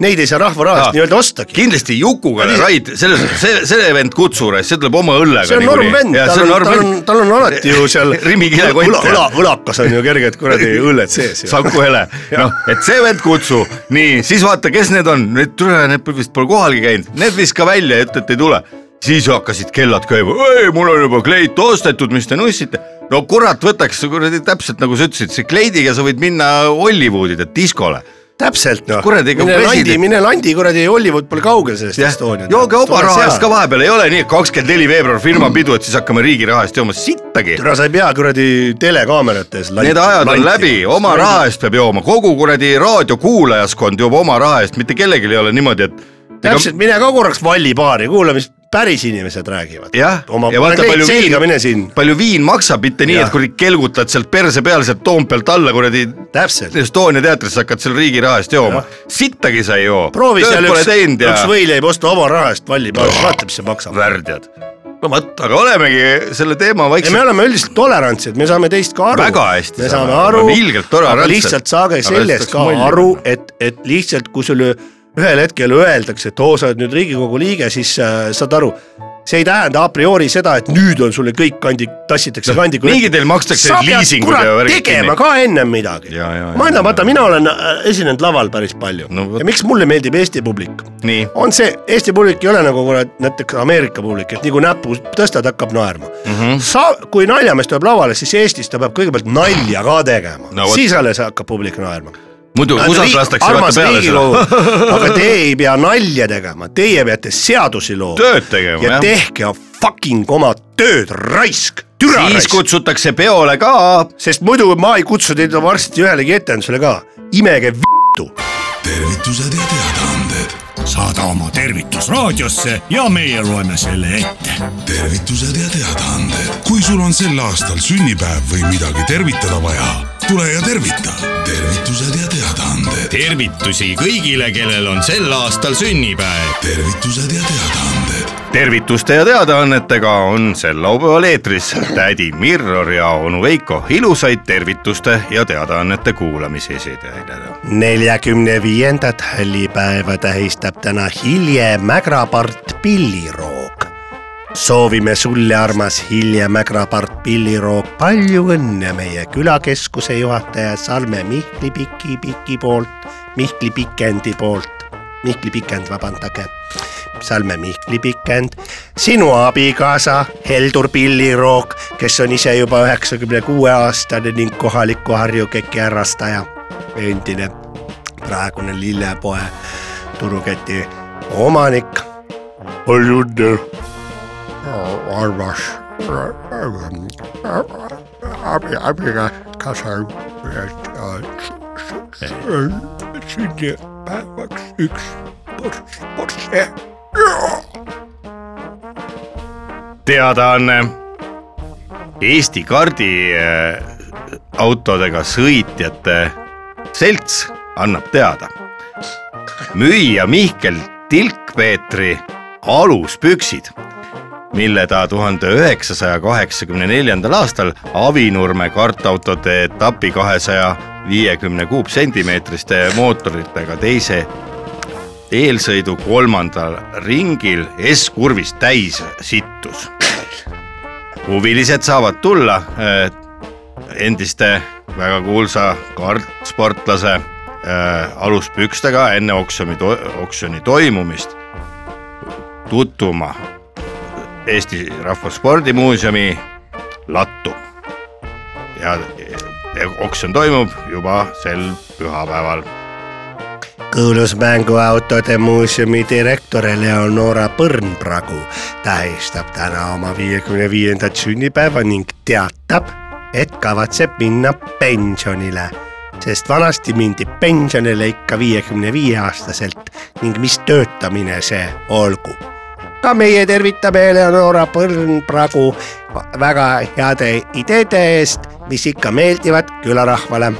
B: neid ei saa rahva raha
A: Jaa.
B: eest nii-öelda ostagi .
A: kindlasti Jukuga
B: Ja nii-
A: Raid , selles , see , see vend Kutsuras , see tuleb oma õllega .
B: see on norm vend , tal on , tal on , tal on alati ju seal
A: Rimi kilekott
B: õla , õla , õlakas on ju kerged kuradi õlled sees ju .
A: Saku Hele , noh , et see vend kutsu , nii , siis vaata , kes need on , need tule , need vist pole kohalgi käinud , need viska välja ja ütle , et ei tule . siis hakkasid kellad käima , ei , mul on juba kleit ostetud , mis te nussite . no kurat , võtaks kuradi täpselt nagu sa ütlesid , see kleidiga sa võid minna Hollywoodi , tead , diskole .
B: täpselt noh .
A: Kuradi, ega
B: mine landi ,
A: president-
B: mine landi kuradi , Hollywood pole kaugel sellest Estoniast .
A: jooge oma raha eest ka vahepeal , ei ole nii , et kakskümmend neli veebruar firma pidu , et siis hakkame riigi raha eest jooma , sittagi .
B: ära sa ei pea kuradi telekaamerate ees .
A: Need ajad on läbi , oma raha eest peab jooma , kogu kuradi raadiokuulajaskond joob oma raha eest , mitte kellelgi ei ole niimoodi , et
B: täpselt , mine ka korraks vallipaari , kuula , mis päris inimesed räägivad .
A: Jah,
B: oma
A: ja vaata, palju
B: kleit selga ,
A: viin-
B: mine siin ,
A: palju viin maksab , mitte nii ,
B: Jah.
A: et kuradi kelgutad sealt perse peal sealt Toompealt alla kuradi
B: täpselt .
A: Estonia teatrisse , hakkad seal riigi raha eest jooma . sittagi sa ei joo ,
B: proovi seal
A: pole
B: üks ,
A: teinud ja
B: üks võileib osta oma raha eest vallipaari , vaata , mis see maksab .
A: värdjad . no vot , aga olemegi selle teema
B: ja me
A: vaikselt .
B: oleme üldiselt tolerantsed , me saame teist ka aru .
A: Väga hästi
B: me
A: saame
B: saame
A: aru,
B: aru
A: me oleme , ilgelt tolerantsed.
B: lihtsalt saage
A: Aga
B: sellest
A: lihtsalt
B: ka
A: molli
B: aru , et , et lihtsalt kui sulle ühel hetkel öeldakse , et oo , sa oled nüüd Riigikogu liige , siis äh, saad aru , see ei tähenda a priori seda , et nüüd on sulle kõik kandik , tassitakse kandikule .
A: mingi teil makstakse liisingud ja
B: ja
A: värgid
B: värgid kinni .
A: kinni.
B: tegema ka ennem midagi
A: Ja, ja, . ja,
B: ma annan ,
A: ja.
B: vaata , mina olen äh, esinenud laval päris palju
A: No vot.
B: ja miks mulle meeldib Eesti publik
A: nii ,
B: on see , Eesti publik ei ole nagu kurat näiteks Ameerika publik , et nii kui näpu tõstad , hakkab naerma mm .
A: Mhm.
B: -hmm. sa , kui naljamees tuleb lavale , siis Eestis ta peab kõigepealt nalja ka tegema
A: No
B: no, ,
A: vot.
B: siis alles hakkab publik naerma .
A: muidu USA-s lastakse vaata peale seda .
B: aga te ei pea nalja tegema , teie peate seadusi looma .
A: Tööd tegema,
B: ja
A: jah.
B: tehke fucking oma tööd , raisk , türa
A: siis
B: raisk .
A: kutsutakse peole ka
B: sest muidu ma ei kutsu teid varsti ühelegi etendusele ka , imege vittu .
C: tervitused ja teadaanded ,
D: saada oma tervitus raadiosse ja meie loeme selle ette .
C: tervitused ja teadaanded . kui sul on sel aastal sünnipäev või midagi tervitada vaja , tule ja tervita . tervitused ja teadaanded ,
D: tervitusi kõigile , kellel on sel aastal sünnipäev .
C: tervitused ja teadaanded ,
A: tervituste ja teadaannetega on sel laupäeval eetris tädi Mirror ja onu Veiko . ilusaid tervituste ja teadaannete kuulamisi teile .
B: neljakümne viiendat hällipäeva tähistab täna Hilje Mägrapart Pilliroog . soovime sulle , armas Hilje Mägrapart Pilliroog , palju õnne meie külakeskuse juhataja Salme Mihkli Piki Piki poolt , Mihkli Pikendi poolt , Mihkli Pikend , vabandage . Salme Mihkli Pikend , sinu abikaasa Heldur Pilliroog , kes on ise juba üheksakümne kuue aastane ning kohaliku Harju keki harrastaja , endine praegune lillepoe turuketi omanik . palju õnne , armas abi , abikaasa . uh,
E: sünnipäevaks üks ports , portsje .
A: teadaanne . äh, Eesti kardi äh, autodega sõitjate selts annab teada . müüja Mihkel Tilk-Peetri aluspüksid , mille ta tuhande üheksasaja kaheksakümne neljandal aastal Avinurme kartautode etapi kahesaja viiekümne kuupsentimeetriste mootoritega teise eelsõidu kolmandal ringil S-kurvis täis sittus . huvilised saavad tulla eh, endiste väga kuulsa kartsportlase eh, aluspükstega enne oksjoni , oksjoni toimumist tutvuma Eesti Rahva Spordimuuseumi lattu . ja eh, oksjon toimub juba sel pühapäeval
B: kuulus mänguautode muuseumi direktor Eleonora Põrnpragu tähistab täna oma viiekümne viiendat sünnipäeva ning teatab , et kavatseb minna pensionile . sest vanasti mindi pensionile ikka viiekümne viie aastaselt ning mis töötamine see olgu . ka meie tervitame Eleonora Põrnpragu väga heade ideede eest , mis ikka meeldivad külarahvale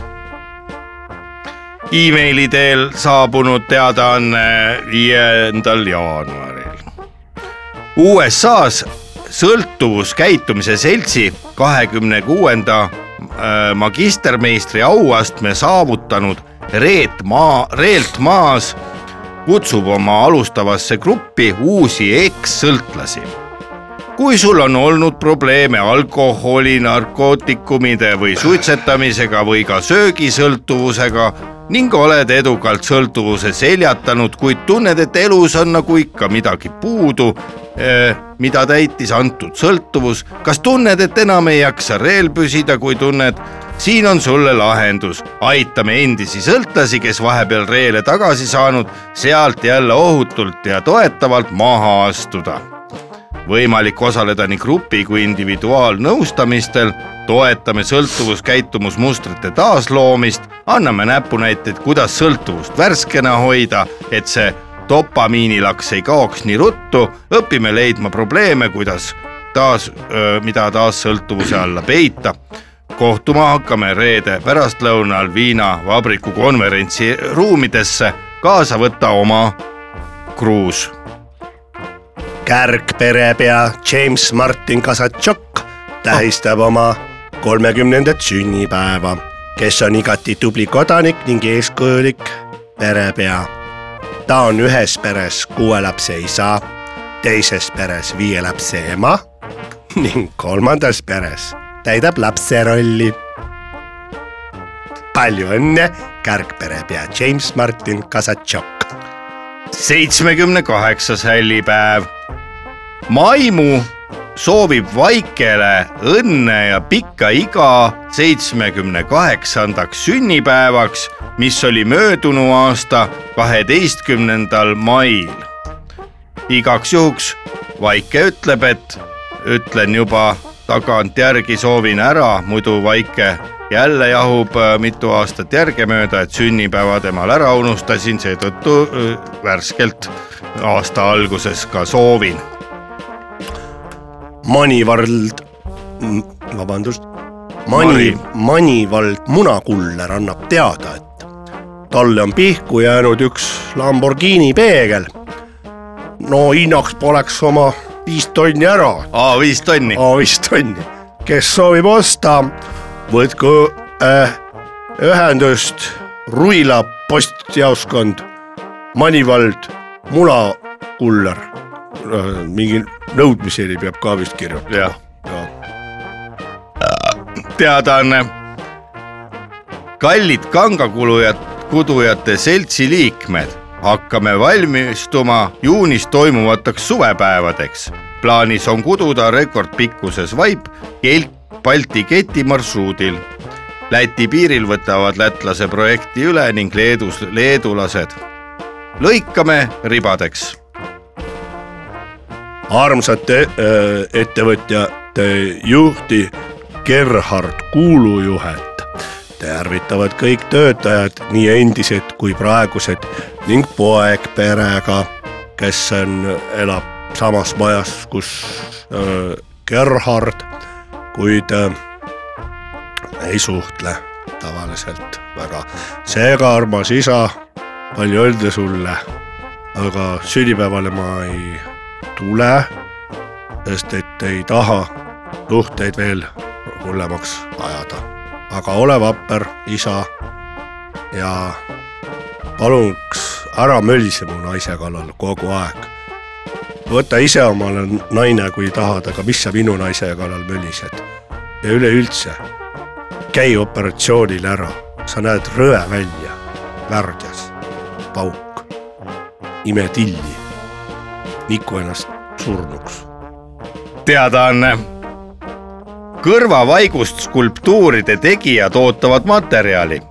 A: emaili teel saabunud teadaanne viiendal jaanuaril . USA-s sõltuvuskäitumise seltsi kahekümne kuuenda äh, magistermeistri auastme saavutanud Reet Maa , Reelt Maas kutsub oma alustavasse gruppi uusi ekssõltlasi kui sul on olnud probleeme alkoholi , narkootikumide või suitsetamisega või ka söögisõltuvusega ning oled edukalt sõltuvuse seljatanud , kuid tunned , et elus on nagu ikka midagi puudu , mida täitis antud sõltuvus , kas tunned , et enam ei jaksa reel püsida , kui tunned , siin on sulle lahendus , aitame endisi sõltlasi , kes vahepeal reele tagasi saanud , sealt jälle ohutult ja toetavalt maha astuda võimalik osaleda nii grupi kui individuaalnõustamistel , toetame sõltuvuskäitumusmustrite taasloomist , anname näpunäiteid , kuidas sõltuvust värskena hoida , et see dopamiinilaks ei kaoks nii ruttu , õpime leidma probleeme , kuidas taas , mida taas sõltuvuse alla peita . kohtuma hakkame reede pärastlõunal Viina vabriku konverentsi ruumidesse , kaasa võtta oma kruus
B: kärgperepea James Martin Kasatšok tähistab oma kolmekümnendat sünnipäeva , kes on igati tubli kodanik ning eeskujulik perepea . ta on ühes peres kuue lapse isa , teises peres viie lapse ema ning kolmandas peres täidab lapse rolli . palju õnne , kärgperepea James Martin Kasatšok .
A: seitsmekümne kaheksas hällipäev . maimu soovib Vaikele õnne ja pikka iga seitsmekümne kaheksandaks sünnipäevaks , mis oli möödunu aasta kaheteistkümnendal mail . igaks juhuks Vaike ütleb , et ütlen juba tagantjärgi soovin ära , muidu Vaike jälle jahub äh, mitu aastat järgemööda , et sünnipäeva temal ära unustasin , seetõttu äh, värskelt aasta alguses ka soovin .
B: Manivald , vabandust , Mani
A: Mari. ,
B: Manivald Munakuller annab teada , et talle on pihku jäänud üks Lamborghini peegel . no hinnaks poleks oma viis tonni ära ,
A: aa , viis tonni .
B: viis tonni , kes soovib osta , võtku äh, ühendust Ruila postjaoskond , Manivald Munakuller äh, , mingi nõudmiseni peab ka vist kirjutama .
A: jah . teadaanne . kallid kangakulujad , kudujate seltsi liikmed , hakkame valmistuma juunis toimuvateks suvepäevadeks . plaanis on kududa rekordpikkuses vaip Kelk Balti keti marsruudil . Läti piiril võtavad lätlase projekti üle ning Leedus leedulased . lõikame ribadeks
B: armsate öö, ettevõtjate juhti Gerhard Kuulujuhet tervitavad kõik töötajad , nii endised kui praegused ning poeg perega , kes on , elab samas majas , kus öö, Gerhard , kuid öö, ei suhtle tavaliselt väga . seega , armas isa , palju õnne sulle , aga sünnipäevale ma ei tule , sest et ei taha suhteid veel hullemaks ajada . aga ole vapper , isa ja paluks ära mölise mu naise kallal kogu aeg . võta ise omale naine , kui tahad , aga mis sa minu naise kallal mölised ja üleüldse käi operatsioonil ära , sa näed rõve välja , värdjas , pauk , ime tilli , niku ennast surnuks .
A: teadaanne . kõrvavaigust skulptuuride tegijad ootavad materjali .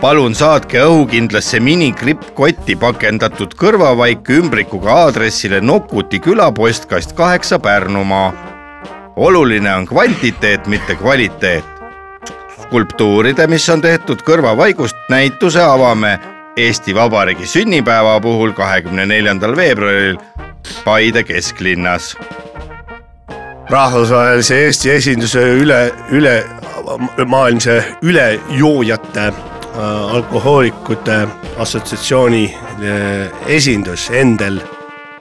A: palun saatke õhukindlasse minikrippkotti pakendatud kõrvavaik ümbrikuga aadressile Nokuti küla postkast kaheksa Pärnumaa . oluline on kvantiteet , mitte kvaliteet . skulptuuride , mis on tehtud kõrvavaigust , näituse avame Eesti Vabariigi sünnipäeva puhul kahekümne neljandal veebruaril Paide kesklinnas
B: rahvusvahelise Eesti esinduse üle , üle , maailmse ülejoojate äh, alkohoolikute assotsiatsiooni äh, esindus Endel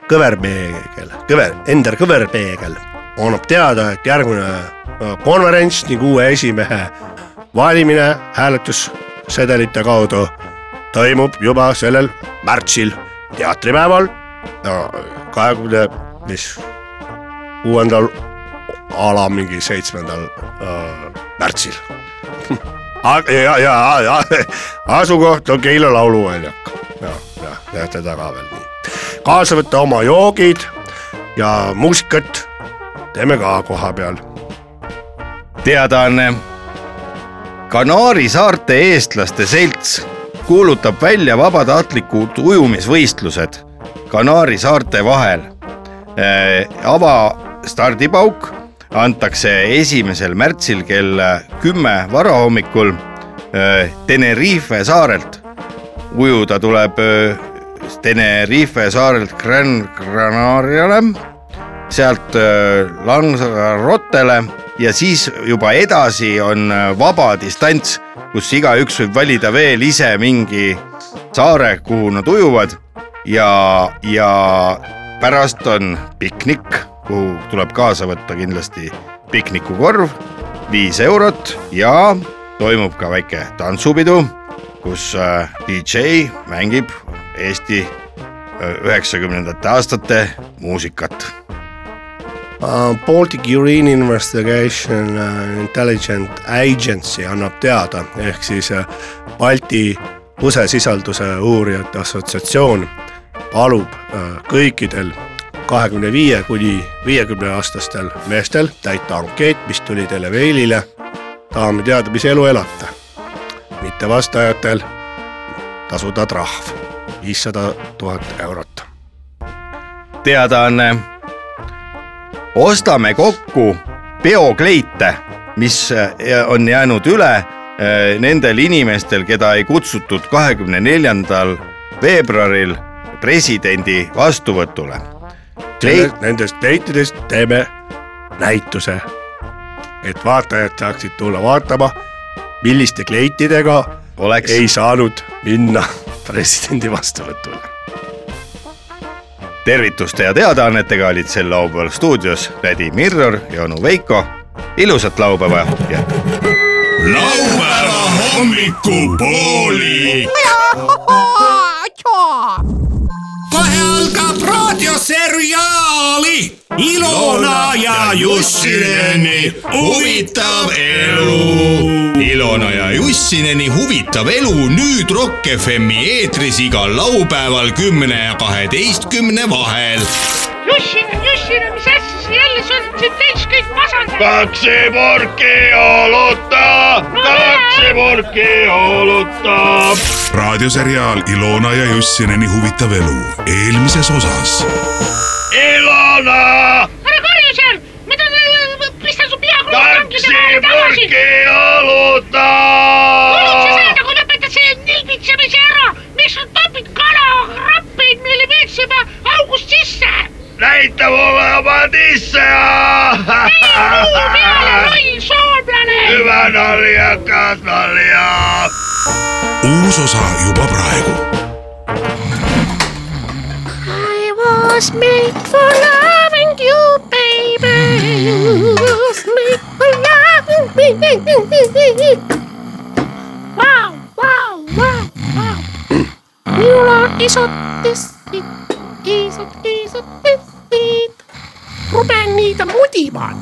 B: Kõverpeegel , Kõver , Ender Kõverpeegel annab teada , et järgmine äh, konverents ning uue esimehe valimine hääletussedelite kaudu toimub juba sellel märtsil teatripäeval äh, kahekümne , mis kuuendal ala mingi seitsmendal äh, märtsil . ja , ja , ja asukoht on Keila lauluväljak . ja , ja näete taga veel nii . kaasa võtta oma joogid ja muusikat teeme ka koha peal .
A: teadaanne . Kanaari saarte eestlaste selts kuulutab välja vabatahtlikud ujumisvõistlused Kanaari saarte vahel . avastardipauk antakse esimesel märtsil kell kümme varahommikul eh, Tenerife saarelt . ujuda tuleb eh, Tenerife saarelt Gran Canariale sealt äh, Lanzarotele ja siis juba edasi on äh, vaba distants , kus igaüks võib valida veel ise mingi saare , kuhu nad ujuvad ja , ja pärast on piknik , kuhu tuleb kaasa võtta kindlasti piknikukorv , viis eurot ja toimub ka väike tantsupidu , kus äh, DJ mängib Eesti äh, üheksakümnendate aastate muusikat
B: Uh, Baltic Urine Investigation uh, Intelligent Agency annab teada ehk siis äh, Balti pusesisalduse uurijate assotsiatsioon palub äh, kõikidel kahekümne viie kuni viiekümne aastastel meestel täita ankeet , mis tuli teile meilile . tahame teada , mis elu elate . mittevastajatel tasuda trahv viissada tuhat eurot .
A: teadaanne . ostame kokku peokleite , mis äh, on jäänud üle eh, nendel inimestel , keda ei kutsutud kahekümne neljandal veebruaril presidendi vastuvõtule . kleit ,
B: Nendest kleitidest teeme näituse , et vaatajad saaksid tulla vaatama , milliste kleitidega
A: Oleks.
B: ei saanud minna presidendi vastuvõtule .
A: tervituste ja teadaannetega olid sel laupäeval stuudios tädi Mirror ja onu Veiko . ilusat laupäeva jätku .
C: laupäeva hommikupooli
D: kohe algab raadioseriaali Ilona ja Jussineni
F: huvitav elu . Ilona ja Jussineni huvitav elu nüüd Rock FM-i eetris igal laupäeval kümne ja kaheteistkümne vahel .
G: Jussin , Jussin , mis asja sa jälle , sul on siin täis kõik pasandad .
C: raadioseriaal Ilona ja Jussineni huvitav elu eelmises osas .
G: ära karju seal , ma tahan , pista su pea kuhugi rongide vahele tagasi . kuulid sa seda , kui lõpetad selle nilbitsemise ära , miks sa topid kalakrappeid meile veetsema august sisse ? näita mulle oma tisse . peale , loll soomlane .
C: uus osa juba praegu
G: I was made for loving you, baby. You was made for loving me. Wow, wow, wow, wow. You are isot this, isot, isot this.
E: ruben niitä mudimaan .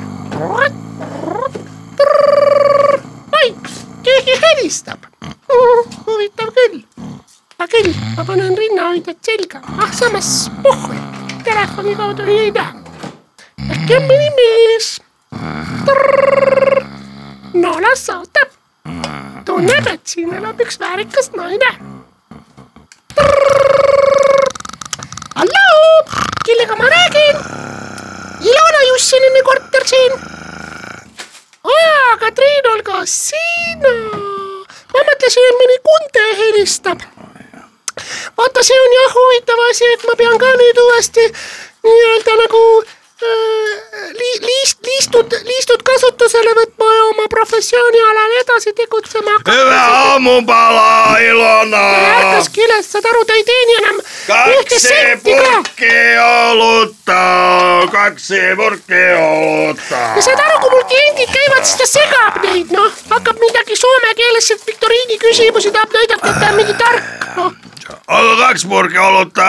E: vaiks , keegi helistab . huvitav küll . aga küll , ma panen rinnahoidjad selga , ah samas pohhu , telefoni kaudu ei näe . äkki on mõni mees . no las ootab . tunneb , et siin elab üks väärikas naine halloo , kellega ma räägin ? Ilona Jussinini korter siin . aa , Katriin , on ka sina ? ma mõtlesin , et mõni Kunde helistab . vaata , see on jah huvitav asi , et ma pean ka nüüd uuesti nii-öelda nagu äh, li- , liist , liistud , liistud kasutusele võtma ja oma professiooni alal edasi tegutsema hakkama .
A: hüve aamupala , Ilona .
E: ärkaski üles , saad aru , ta ei teeni enam .
A: kaksi purkki olutta , kaksi purkki olutta .
E: ja saad aru , kui mul kliendid käivad , siis ta segab neid , noh , hakkab midagi soome keeles , et viktoriini küsimusi tahab näidata , et ta on mingi tark , noh .
A: olgu kaks purki olutta .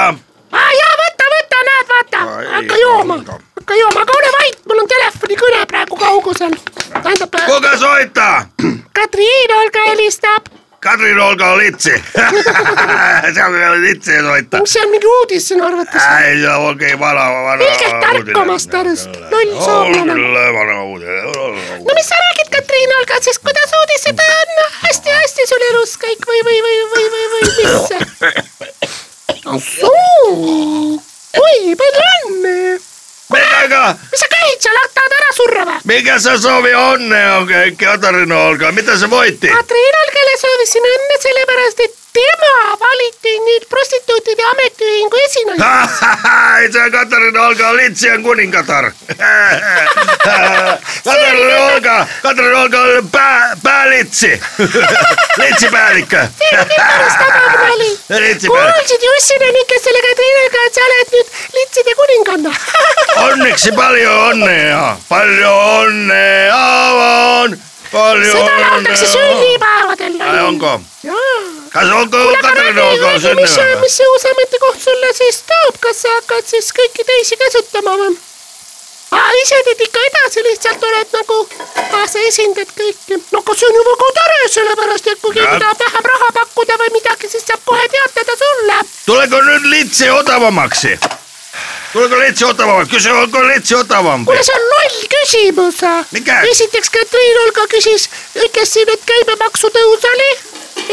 E: aa jaa , võta , võta , näed , vaata , hakka jooma , hakka jooma , aga ole vait , mul on telefonikõne praegu kaugusel . tähendab ,
A: kuga soita ?
E: Katriin Olga helistab ,
A: Kadri Nolga litsi . seal ei ole litsi soita .
E: mis see on mingi uudis sinu arvates ?
A: ei , see on okei , vana , vana .
E: ilgelt tark omast arust , loll
A: on
E: soomlane .
A: küll vana uudis .
E: no mis sa räägid , Katriin Olga , siis kuidas uudised on hästi-hästi sul elus kõik või , või , või , või , või , või mis ? ahsoo , oi palju õnne .
A: kuule , aga
E: mis sa käid seal , tahad ära surra või ?
A: mikä se sovi onne on Katarina Olga? Mitä se voitti?
E: Katriin Olgale soovisin õnne sellepärast , et tema valiti nüüd prostituutide ametiühingu esinaine .
A: Ei se Katarina Olga on litsien kuningatar. Katarina Olga, Katarina Olga on pää, päälitsi. Litsipäällikkö. Litsipäällikkö.
E: kuulsid Jussinen ikka selle Katriin Olga , et sa oled nüüd litside kuninganna .
A: Onneksi paljon onnea. Paljon onnea on. Paljon
E: seda
A: onnea
E: lauldakse
A: on.
E: sünnipäevadel .
A: Ai onko?
E: jaa
A: Kas onko Katarina Olga on
E: aga mis ,
A: synnyvä?
E: mis see uus ametikoht sulle siis toob , kas sa hakkad siis kõiki teisi kasutama või ? ise teed ikka edasi , lihtsalt oled nagu , sa esindad kõiki . no aga see on ju väga tore , sellepärast et kui keegi
A: Ja-
E: tahab vähem raha pakkuda või midagi , siis saab kohe teatada sulle .
A: Tuleeko nyt litsi otavammaksi? Tuleeko litsi otavammaksi? Kysy, onko litsi otavampi?
E: kuule , see on loll küsimus .
A: Mikä?
E: esiteks Katriin Olga küsis , ütles siin , et käibemaksu tõus oli ,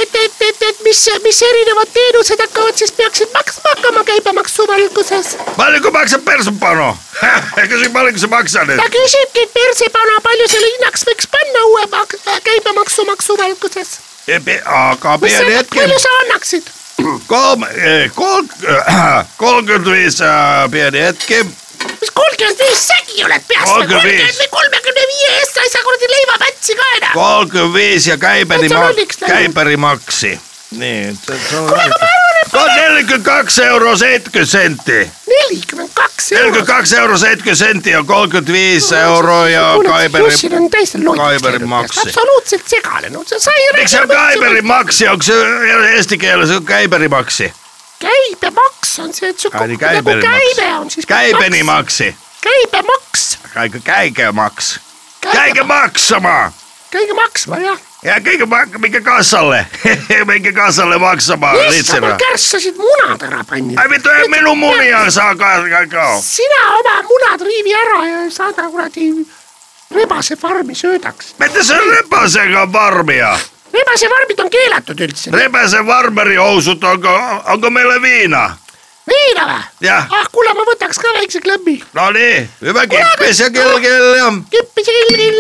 E: et , et , et , et mis , mis erinevad teenused hakkavad siis peaksid maksma hakkama käibemaksu valguses
A: Paljonko maksaa persupano? Kysy, paljonko se maksaa nyt?
E: ta küsibki , et persepana , palju selle hinnaks võiks panna uue mak- äh, käibemaksu maksu valguses ?
A: Ei pi- Aika
E: mis
A: pieni
E: sa ,
A: hetki.
E: palju sa annaksid ?
A: Kolme, ei, kol, äh, 35 äh, pieni hetki.
E: mis kolmkümmend viis sägi oled peast või
A: 35.
E: kolmkümmend või kolmekümne viie eest sa ei saa kuradi leivapätsi ka enam .
A: 35 ja käipäri,
E: Oot sä
A: ma-
E: lolliksi lähtenyt?
A: käipäri maksi. Niin, se- se on... Ko- 42 euroa 70 senttiä.
E: nelikümmend kaks eurot .
A: 42 euroa 70 senttiä on
E: No,
A: 35 euroa ja kaiperi...
E: Jussil on täiesti loll .
A: Kaiberi maksi.
E: absoluutselt segane , no sa sa ei
A: Miksi se on kaiperimaksi? Onko se eesti kielessä on käiperimaksi?
E: käibemaks on see , et su
A: Ai niin
E: nagu
A: käiperimaksi.
E: käibe on siis .
A: Käipenimaksi.
E: käibemaks .
A: Käikö käikemaks? Käikö maksamaan?
E: käige maksma jah .
A: Ja käikö mak- mikä kassalle? mikä kassalle maksamaan?
E: issand ,
A: Litsenä.
E: mul nagu kärssasid munad ära panni .
A: Ai vittu, ei minun munia saa kaikkaa.
E: sina oma munad riivi ära ja saada kuradi rebasefarmi söödaks .
A: Mitä se repäsenkään varmia?
E: rebasefarmid on keelatud üldse .
A: Repäsen varmerihousut, onko, onko meillä viina?
E: viina vä ?
A: Jah.
E: ah kuule , ma võtaks ka väikse klõmmi .
A: No niin, hyvä kippis ja kelkelle on.
E: küppis kilgil .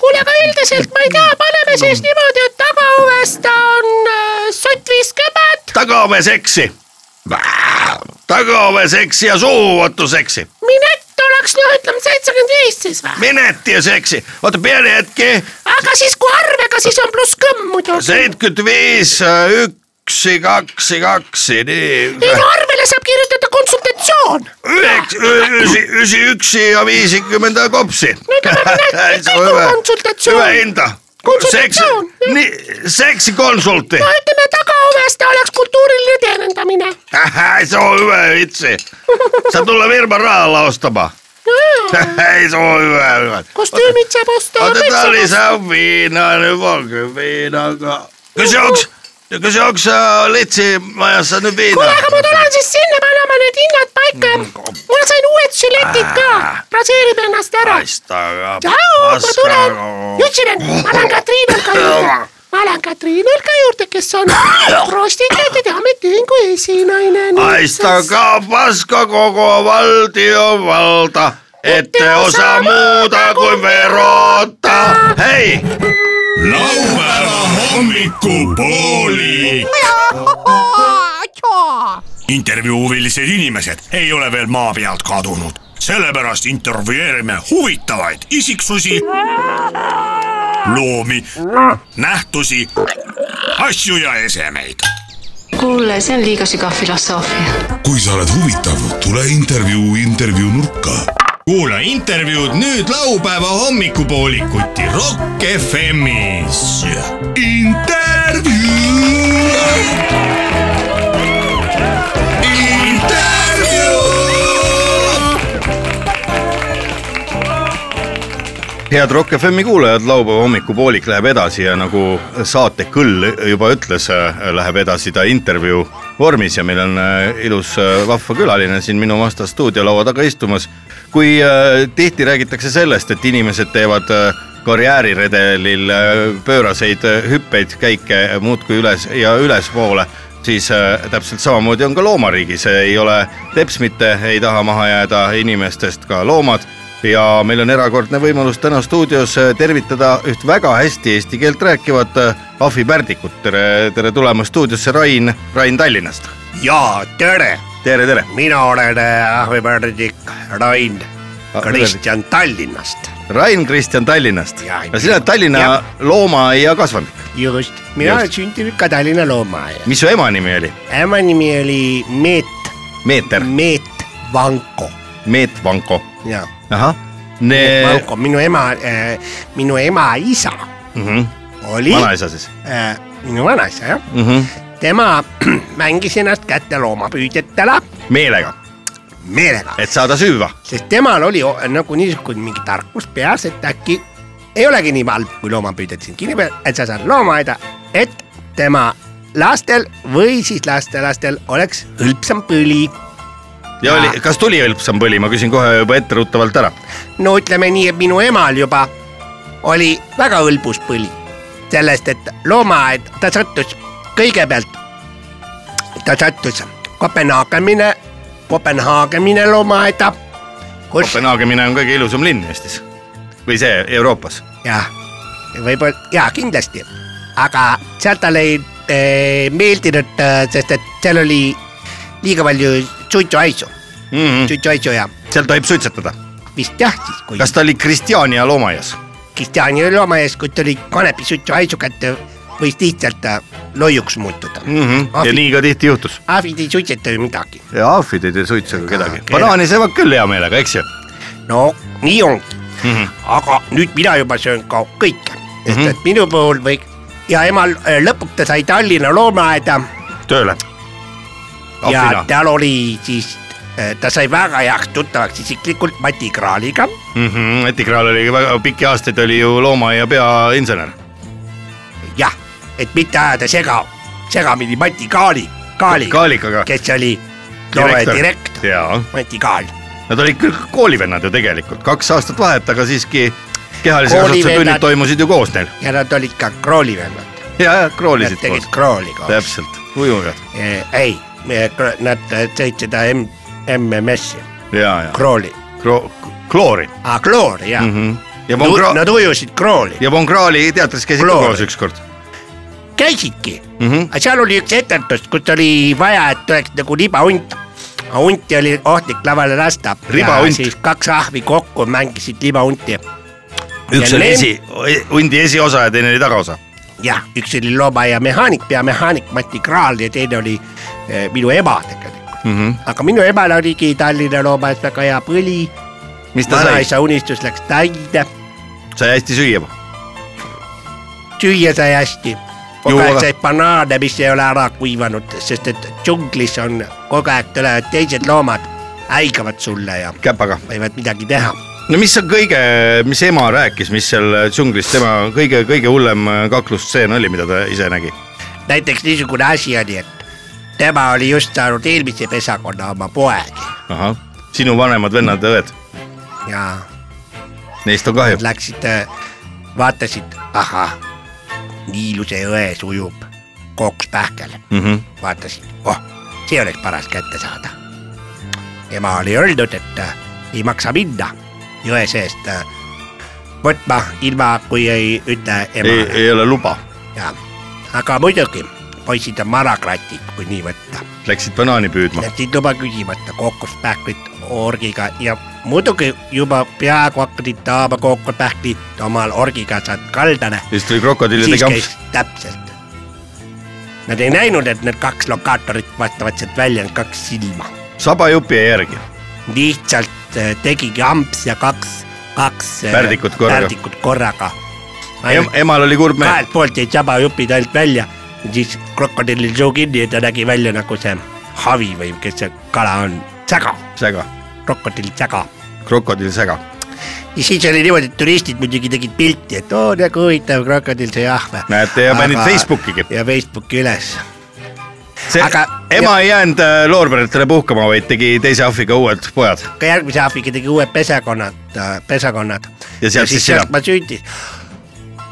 E: kuule , aga üldiselt ma ei tea , paneme siis niimoodi , et tagaõues ta on äh, sott viiskümmend ,
A: Takaove seksi. Takaove seksi ja suuvattu seksi.
E: minett oleks noh , ütleme seitsekümmend viis siis vä ?
A: Minetti ja seksi. Ota pieni hetki.
E: aga siis kui arvega , siis on pluss kõmm muidugi .
A: seitsekümmend viis , yksi , kaksi , kaksi , nii .
E: ei no arvele saab kirjutada konsultatsioon .
A: Yhdeksi, y- ysi, ysi yksi ja viisikymmentä kopsi.
E: Mikä mä Niin, minä-
A: Se on hyvä.
E: konsultatsioon?
A: Hyvä hinta. Seksi, Niin,
E: Konsultatsioon, joo.
A: ni, seksikonsultti.
E: no ütleme , tagaõues ta oleks kultuuriline teenindamine
A: Ähä, se on hyvä itse. Sä tulla Virman rahalla ostamaan. ei soo hyvä , hyvä .
E: kostüümid saab osta .
A: otetaan lisää viinaa nyt valkoinen viinaga . kas jooks , kas jooks äh, litsi majassa nyt
E: kuule ,
A: viinaa ?
E: aga ma tulen siis sinna , me anname need hinnad paika . ma sain uued žiletid ka , raseerime ennast ära .
A: paistaga .
E: tšau , ma tulen . Jutsinen , ma lähen Katriin Olka juurde . ma lähen Katriin Olka juurde , kes on prostituutide ametiühingu esinaine .
A: Aistakaa paska koko valtiovalta, ette osaa muuta kuin verota. Hei!
D: laupäeva hommikupooli . intervjuu huvilised inimesed ei ole veel maa pealt kadunud , sellepärast intervjueerime huvitavaid isiksusi , loomi , nähtusi , asju ja esemeid
H: kuule , see on liiga sügav filosoofia .
C: kui sa oled huvitav , tule intervjuu intervjuu nurka
F: kuula intervjuud nüüd laupäeva hommikupoolikuti Rock FM-is . intervjuu . intervjuu .
A: head Rock FM-i kuulajad , laupäeva hommikupoolik läheb edasi ja nagu saate kõll juba ütles , läheb edasi ta intervjuu vormis ja meil on äh, ilus äh, vahva külaline siin minu vastas stuudiolaua taga istumas . kui äh, tihti räägitakse sellest , et inimesed teevad äh, karjääriredelil äh, pööraseid äh, hüppeid , käike muudkui üles ja ülespoole , siis äh, täpselt samamoodi on ka loomariigis , ei ole teps mitte , ei taha maha jääda inimestest ka loomad ja meil on erakordne võimalus täna stuudios äh, tervitada üht väga hästi eesti keelt rääkivat äh, Ahvi Pärdikut , tere , tere tulemast stuudiosse , Rain , Rain Tallinnast .
B: ja tere ,
A: tere , tere .
B: mina olen äh, ahvipärdik Rain Kristjan Tallinnast .
A: Rain Kristjan Tallinnast
B: Jaa,
A: ja sina oled Tallinna
B: jah.
A: loomaaia kasvanik ,
B: just , mina
A: Just.
B: olen sündinud ka Tallinna loomaaias .
A: mis su ema nimi oli ?
B: ema nimi oli Meet ,
A: Meeter ,
B: Mm. Meet Vanko
A: Meet Vanko ,
B: ja
A: ahah . Eh,
B: Meet Vanko , minu ema äh, , minu ema isa oli
A: Mhm. vanaisa siis
B: äh, minu vanaisa jah ,
A: mm , -hmm.
B: tema mängis ennast kätte loomapüüdjatele
A: meelega ,
B: meelega ,
A: et saada süüa .
B: sest temal oli o- nagu niisugune mingi tarkus peas , et äkki ei olegi nii halb , kui loomapüüdjad sind kinni peavad , et sa saad loomaaeda , et tema lastel või siis lastelastel oleks hõlpsam põli
A: ja oli , kas tuli hõlpsam põli , ma küsin kohe juba etteruttavalt ära .
B: no ütleme nii , et minu emal juba oli väga hõlbus põli sellest , et loomaaed , ta sattus kõigepealt , ta sattus Kopenhaagenile , Kopenhaagenile loomaaeda , kus
A: Kopenhaagenina on kõige ilusam linn Eestis või see Euroopas
B: jah , võib-olla ja kindlasti , aga sealt talle ei eh, meeldinud , sest et seal oli liiga palju suitsuaisu ,
A: mm . -hmm.
B: suitsuaisu ja
A: seal tohib suitsetada .
B: vist jah siis , kui
A: kas ta oli Kristjania loomaaias ?
B: Kristjani loomaaias , kui tuli kanepisuitsu haisu kätte , võis lihtsalt äh, loiuks muutuda mm. .
A: Mhm. ja nii ka tihti juhtus .
B: ahvid ei suitseta ju midagi .
A: ja ahvid ei tee suitsu ka kedagi .
B: Okei.
A: banaani söövad küll hea meelega , eks ju .
B: no nii ongi mm . -hmm. aga nüüd mina juba söön ka kõike , sest mm -hmm. et minu puhul või ja emal äh, lõpuks ta sai Tallinna loomaaeda
A: tööle .
B: ja
A: ahvina .
B: tal oli siis , ta sai väga heaks tuttavaks isiklikult Mati Kraaliga
A: Mati Kraal Mhm. oli väga pikki aastaid oli ju loomaaia peainsener .
B: jah , et mitte ajada sega , segamini Mati Kaali , Kaaliga ,
A: Kaalikaga .
B: kes oli loomaaia direktor ,
A: jaa ,
B: Mati Kaal
A: nad olid küll koolivennad ju tegelikult , kaks aastat vahet , aga siiski kehalise kasvatuse
B: Koolivennad.
A: tunnid toimusid ju koos neil .
B: ja nad olid ka kroolivennad .
A: ja , ja kroolisid
B: Nad tegid
A: koos .
B: krooli koos .
A: täpselt , ujujad .
B: ei , nad tõid seda M , MMS-i ,
A: ja , ja
B: krooli ,
A: Kro- , kloori
B: aa kloori jah
A: mm .
B: mm .
A: -hmm. ja Von
B: -hmm.
A: Kra-
B: Nad ujusid krooli ,
A: ja Von Krahli teatris käisid ka
B: Kloori.
A: koos ükskord
B: käisidki ,
A: mm . -hmm.
B: aga seal oli üks etendus , kus oli vaja , et oleks nagu libahunt . aga hunti oli ohtlik lavale lasta .
A: Ribahunt.
B: siis kaks ahvi kokku mängisid libahunti ,
A: üks
B: Ja
A: oli
B: lem-
A: esi , hundi esiosa ja teine oli tagaosa .
B: jah , üks oli loomaaia mehaanik , peamehaanik Mati Kraal ja teine oli eh, minu ema tegelikult mm .
I: Mhm.
B: -hmm. aga minu emal oligi Tallinna loomaaias väga hea põli
A: mis ta sai ,
B: vanaisa unistus läks täide ,
A: sai hästi süüa .
B: süüa sai hästi . kogu
A: Juua
B: aeg
A: ka.
B: sai banaane , mis ei ole ära kuivanud , sest et džunglis on kogu aeg tulevad teised loomad
I: häigavad sulle ja
A: käpaga .
I: võivad midagi teha .
A: no mis on kõige , mis ema rääkis , mis seal džunglis tema kõige-kõige hullem kaklustseen oli , mida ta ise nägi ?
I: näiteks niisugune asi oli , et tema oli just saanud eelmise pesakonna oma poeg
A: ahah , sinu vanemad vennad-õed ,
I: ja
A: neist on kahju
I: nad . läksid , vaatasid , ahah , Niiluse jõe sujub kooks pähkel
A: Mm -hmm.
I: vaatasin , oh , see oleks paras kätte saada . ema oli öelnud , et äh, ei maksa minna jõe seest äh, võtma , ilma kui ei ütle
A: ei ,
I: ema
A: ei ole luba ,
I: ja , aga muidugi poisid on marakratid , kui nii võtta .
A: läksid banaani püüdma .
I: Läksid juba küsimata kookospähklit orgiga ja muidugi juba peaaegu hakkasid taama kookospähklit omal orgiga , saad kaldale
A: siis tuli krokodillide
I: siis
A: kamps
I: käis . täpselt . Nad ei näinud , et need kaks lokaatorit vaatavad sealt välja , need kaks silma .
A: sabajupi ei järgi .
I: lihtsalt äh, tegigi amps ja kaks , kaks äh,
A: Pärdikut korraga.
I: pärdikut korraga.
A: Em,
I: ainult
A: emal oli kurb meel .
I: kahelt poolt jäid sabajupid ainult välja , siis krokodillil suu kinni ja ta nägi välja nagu see havi või kes see kala on , säga ,
A: säga ,
I: krokodill säga
A: krokodill säga .
I: ja siis oli niimoodi , et turistid muidugi tegid pilti , et oo , nagu huvitav krokodill , see jahve .
A: Näete, ja panid Facebookigi.
I: ja Facebooki üles .
A: see Aga...
I: Aga-
A: ema ei jäänud äh, loorberitele puhkama , vaid tegi teise ahviga uued pojad .
I: ka järgmise ahviga tegi uued pesakonnad , pesakonnad .
A: Ja sealt siis sina.
I: sealt ma sündin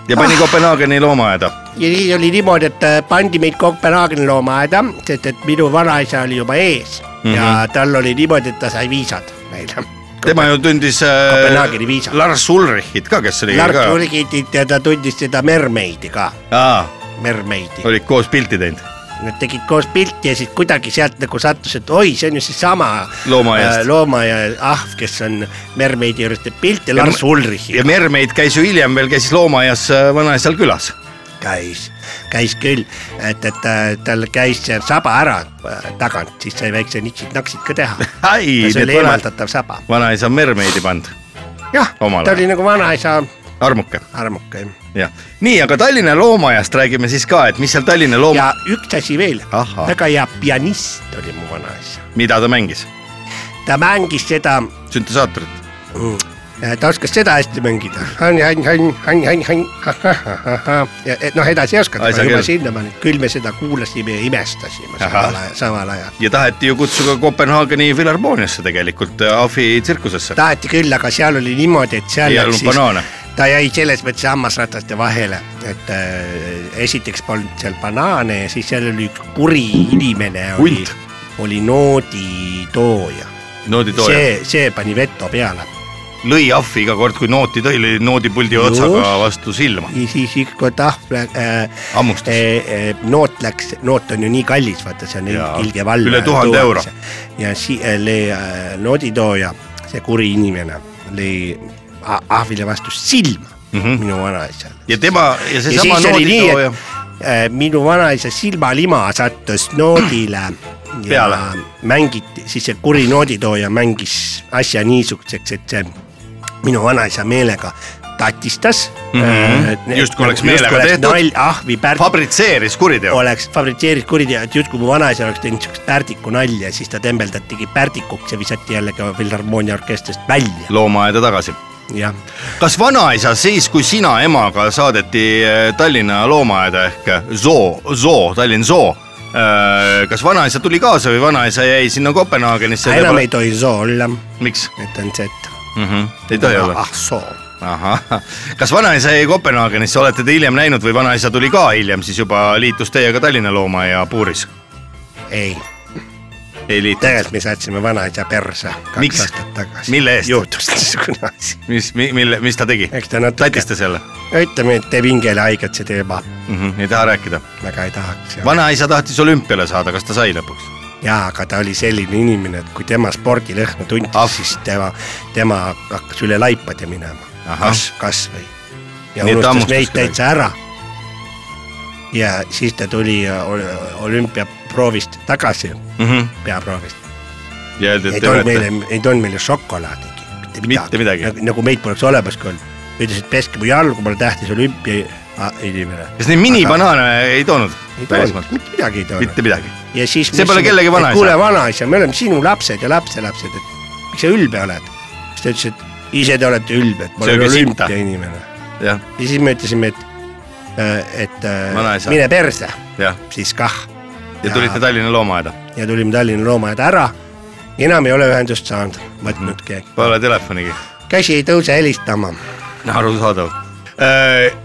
A: ja pani ah. Kopenhaageni loomaaeda .
I: ja siis oli niimoodi , et äh, pandi meid Kopenhaageni loomaaeda , sest et minu vanaisa oli juba ees mm -hmm. ja tal oli niimoodi , et ta sai viisad meile .
A: Mhm. tema ju tundis äh,
I: Kopenhaageni viisa.
A: Lars Ulrichit ka , kes oli
I: Lars
A: ka ,
I: Ulgitit ja ta tundis seda mermeidi ka ,
A: aa ,
I: mermeidi .
A: olid koos pilti teinud .
I: Nad tegid koos pilti ja siis kuidagi sealt nagu sattus , et oi , see on ju seesama
A: Loomaaiast.
I: äh, loomaaia ahv , kes on mermeidi juures teeb pilti ja Lars
A: ja
I: Ulrichi
A: Mermaid käis ju hiljem veel , käis loomaaias äh, vanaisal külas .
I: käis , käis küll , et , et äh, tal käis see saba ära äh, tagant , siis sai väikse niksid-naksid ka teha .
A: ai ,
I: see oli eemaldatav saba .
A: vanaisa on Mermaidi pannud ,
I: jah ,
A: Omal
I: ta
A: ajal.
I: oli nagu vanaisa
A: armuke
I: armuke .
A: jah , nii , aga Tallinna loomaaiast räägime siis ka , et mis seal Tallinna loom-
I: ja , üks asi veel ,
A: Ahah.
I: väga hea pianist oli mu vanaisa .
A: mida ta mängis ,
I: ta mängis seda ,
A: süntesaatorit .
I: ta oskas seda hästi mängida . noh , edasi ei
A: Ai,
I: osanud ,
A: sa
I: juba
A: küll.
I: sinnamaani , küll me seda kuulasime ja imestasime samal ajal , samal ajal .
A: ja taheti ju kutsuda Kopenhaageni Filharmooniasse tegelikult , Ahvi tsirkusesse .
I: taheti küll , aga seal oli niimoodi , et seal
A: Ei olnud banaane.
I: ta jäi selles mõttes hammasrataste vahele , et äh, esiteks polnud seal banaane ja siis seal oli üks kuri inimene oli
A: Hunt. ,
I: oli nooditooja .
A: noodi tooja ,
I: see , see pani veto peale
A: lõi Ahvi iga kord , kui nooti tõi , lõi noodipuldi otsaga
I: Just.
A: vastu silma ,
I: ja siis ükskord ahv äh,
A: hammustas e .
I: äh, noot läks , noot on ju nii kallis , vaata see on
A: Jaa.
I: ilge vall .
A: Üle 1000 euro.
I: ja si- , äh, nooditooja , see kuri inimene lõi a- ahvile vastu silma mm -hmm. minu vanaisale .
A: Mhm. ja tema ja
I: ja
A: seesama
I: siis oli
A: noodi
I: nii ,
A: tooja
I: et äh, minu vanaisa silmalima sattus noodile ja
A: Peale.
I: mängiti , siis see kuri nooditooja mängis asja niisuguseks , et see minu vanaisa meelega tatistas mm . -hmm.
A: Mhm. Justkui oleks meelega tehtud.
I: nalj , ahvi , pärd
A: fabritseeris kuriteo .
I: oleks fabritseerinud kuriteo , et justkui mu vanaisa oleks teinud siukest pärdiku nalja , siis ta tembeldatigi pärdikuks ja visati jällegi Filharmoonia orkestrist välja ,
A: loomaaeda tagasi .
I: jah .
A: kas vanaisa siis , kui sina emaga saadeti äh, Tallinna loomaaeda ehk eh, zoo , zoo , Tallinn zoo , kas vanaisa tuli kaasa või vanaisa jäi sinna Kopenhaagenisse ?
I: enam ei tohi soo olla ,
A: miks
I: et on see , et
A: mm ? -hmm. ei tohi olla .
I: ah soo
A: ahah , kas vanaisa jäi Kopenhaagenisse , olete te hiljem näinud või vanaisa tuli ka hiljem , siis juba liitus teiega Tallinna loomaaia puuris ?
I: ei ,
A: ei liitunud .
I: tegelikult me saatsime vanaisa perse kaks
A: Miks?
I: aastat tagasi .
A: Mille eest?
I: juhtus niisugune asi .
A: mis , mille , mis ta tegi ?
I: eks ta natuke ,
A: tatistas jälle
I: ütleme , et teeb hingele haiget see teema ,
A: mm ? -hmm. ei taha rääkida .
I: väga ei tahaks ja ,
A: vanaisa tahtis olümpiale saada , kas ta sai lõpuks ?
I: ja aga ta oli selline inimene , et kui tema spordilõhna tundis
A: Ah.
I: ah. , siis tema , tema hakkas üle laipade minema ,
A: Ahah.
I: kas , kas või . ja
A: Nii et ta
I: unustas
A: hammustas
I: meid
A: kuidagi.
I: täitsa ära . ja siis ta tuli ja ol- olümpiaproovist tagasi ,
A: Mm -hmm.
I: peaproovist ,
A: ja öeldi ,
I: ei
A: et
I: toonud meile , ei toonud meile šokolaadigi , mitte midagi .
A: mitte midagi .
I: nagu, nagu meid poleks olemaski olnud . ütles , et peske mu jalgu , ma olen tähtis olümpia inimene .
A: kas neid minibanaane ei toonud
I: ei toonud
A: välismaalt ?
I: mitte midagi ei toonud .
A: mitte midagi .
I: ja siis .
A: See pole kellegi vanaisa.
I: kuule , vanaisa , me oleme sinu lapsed ja lapselapsed , et miks sa ülbe oled ? siis ta ütles , et ise te olete ülbed , ma olen
A: Sööge sitta.
I: olümpiainimene .
A: jah ,
I: ja siis me ütlesime , et , et äh,
A: Vanaisa.
I: mine perse ,
A: jah .
I: siis kah .
A: ja tulite Tallinna loomaaeda ,
I: ja tulime Tallinna loomaaeda ära . enam ei ole ühendust saanud ,
A: Mhm.
I: võtnud keegi ,
A: pole telefonigi .
I: käsi ei tõuse helistama .
A: arusaadav .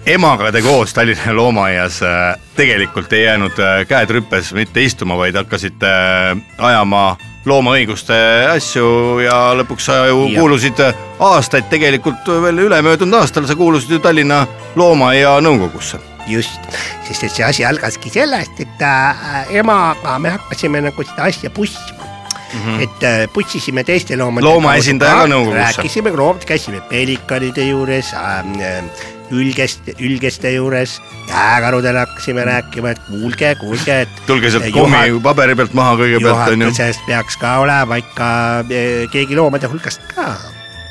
A: emaga te koos Tallinna loomaaias äh, tegelikult ei jäänud äh, käed rüpes mitte istuma , vaid hakkasite äh, ajama loomaõiguste asju ja lõpuks sa ju
I: Jah.
A: kuulusid äh, aastaid tegelikult veel ülemöödunud aastal sa kuulusid ju Tallinna loomaaia nõukogusse .
I: just , sest et see asi algaski sellest , et äh, emaga me hakkasime nagu seda asja pussima . Mm
A: Mhm.
I: -hmm. et äh, putsisime teiste loomade .
A: Looma esindaja ka nõukogusse.
I: rääkisime loomad , käisime pelikanide juures äh, , ülgest , ülgeste juures , jääkarudele hakkasime rääkima , et kuulge , kuulge , et .
A: tulge sealt kommi paberi pealt maha kõigepealt onju .
I: juhatuses peaks ka olema ikka eh, keegi loomade hulgast ka .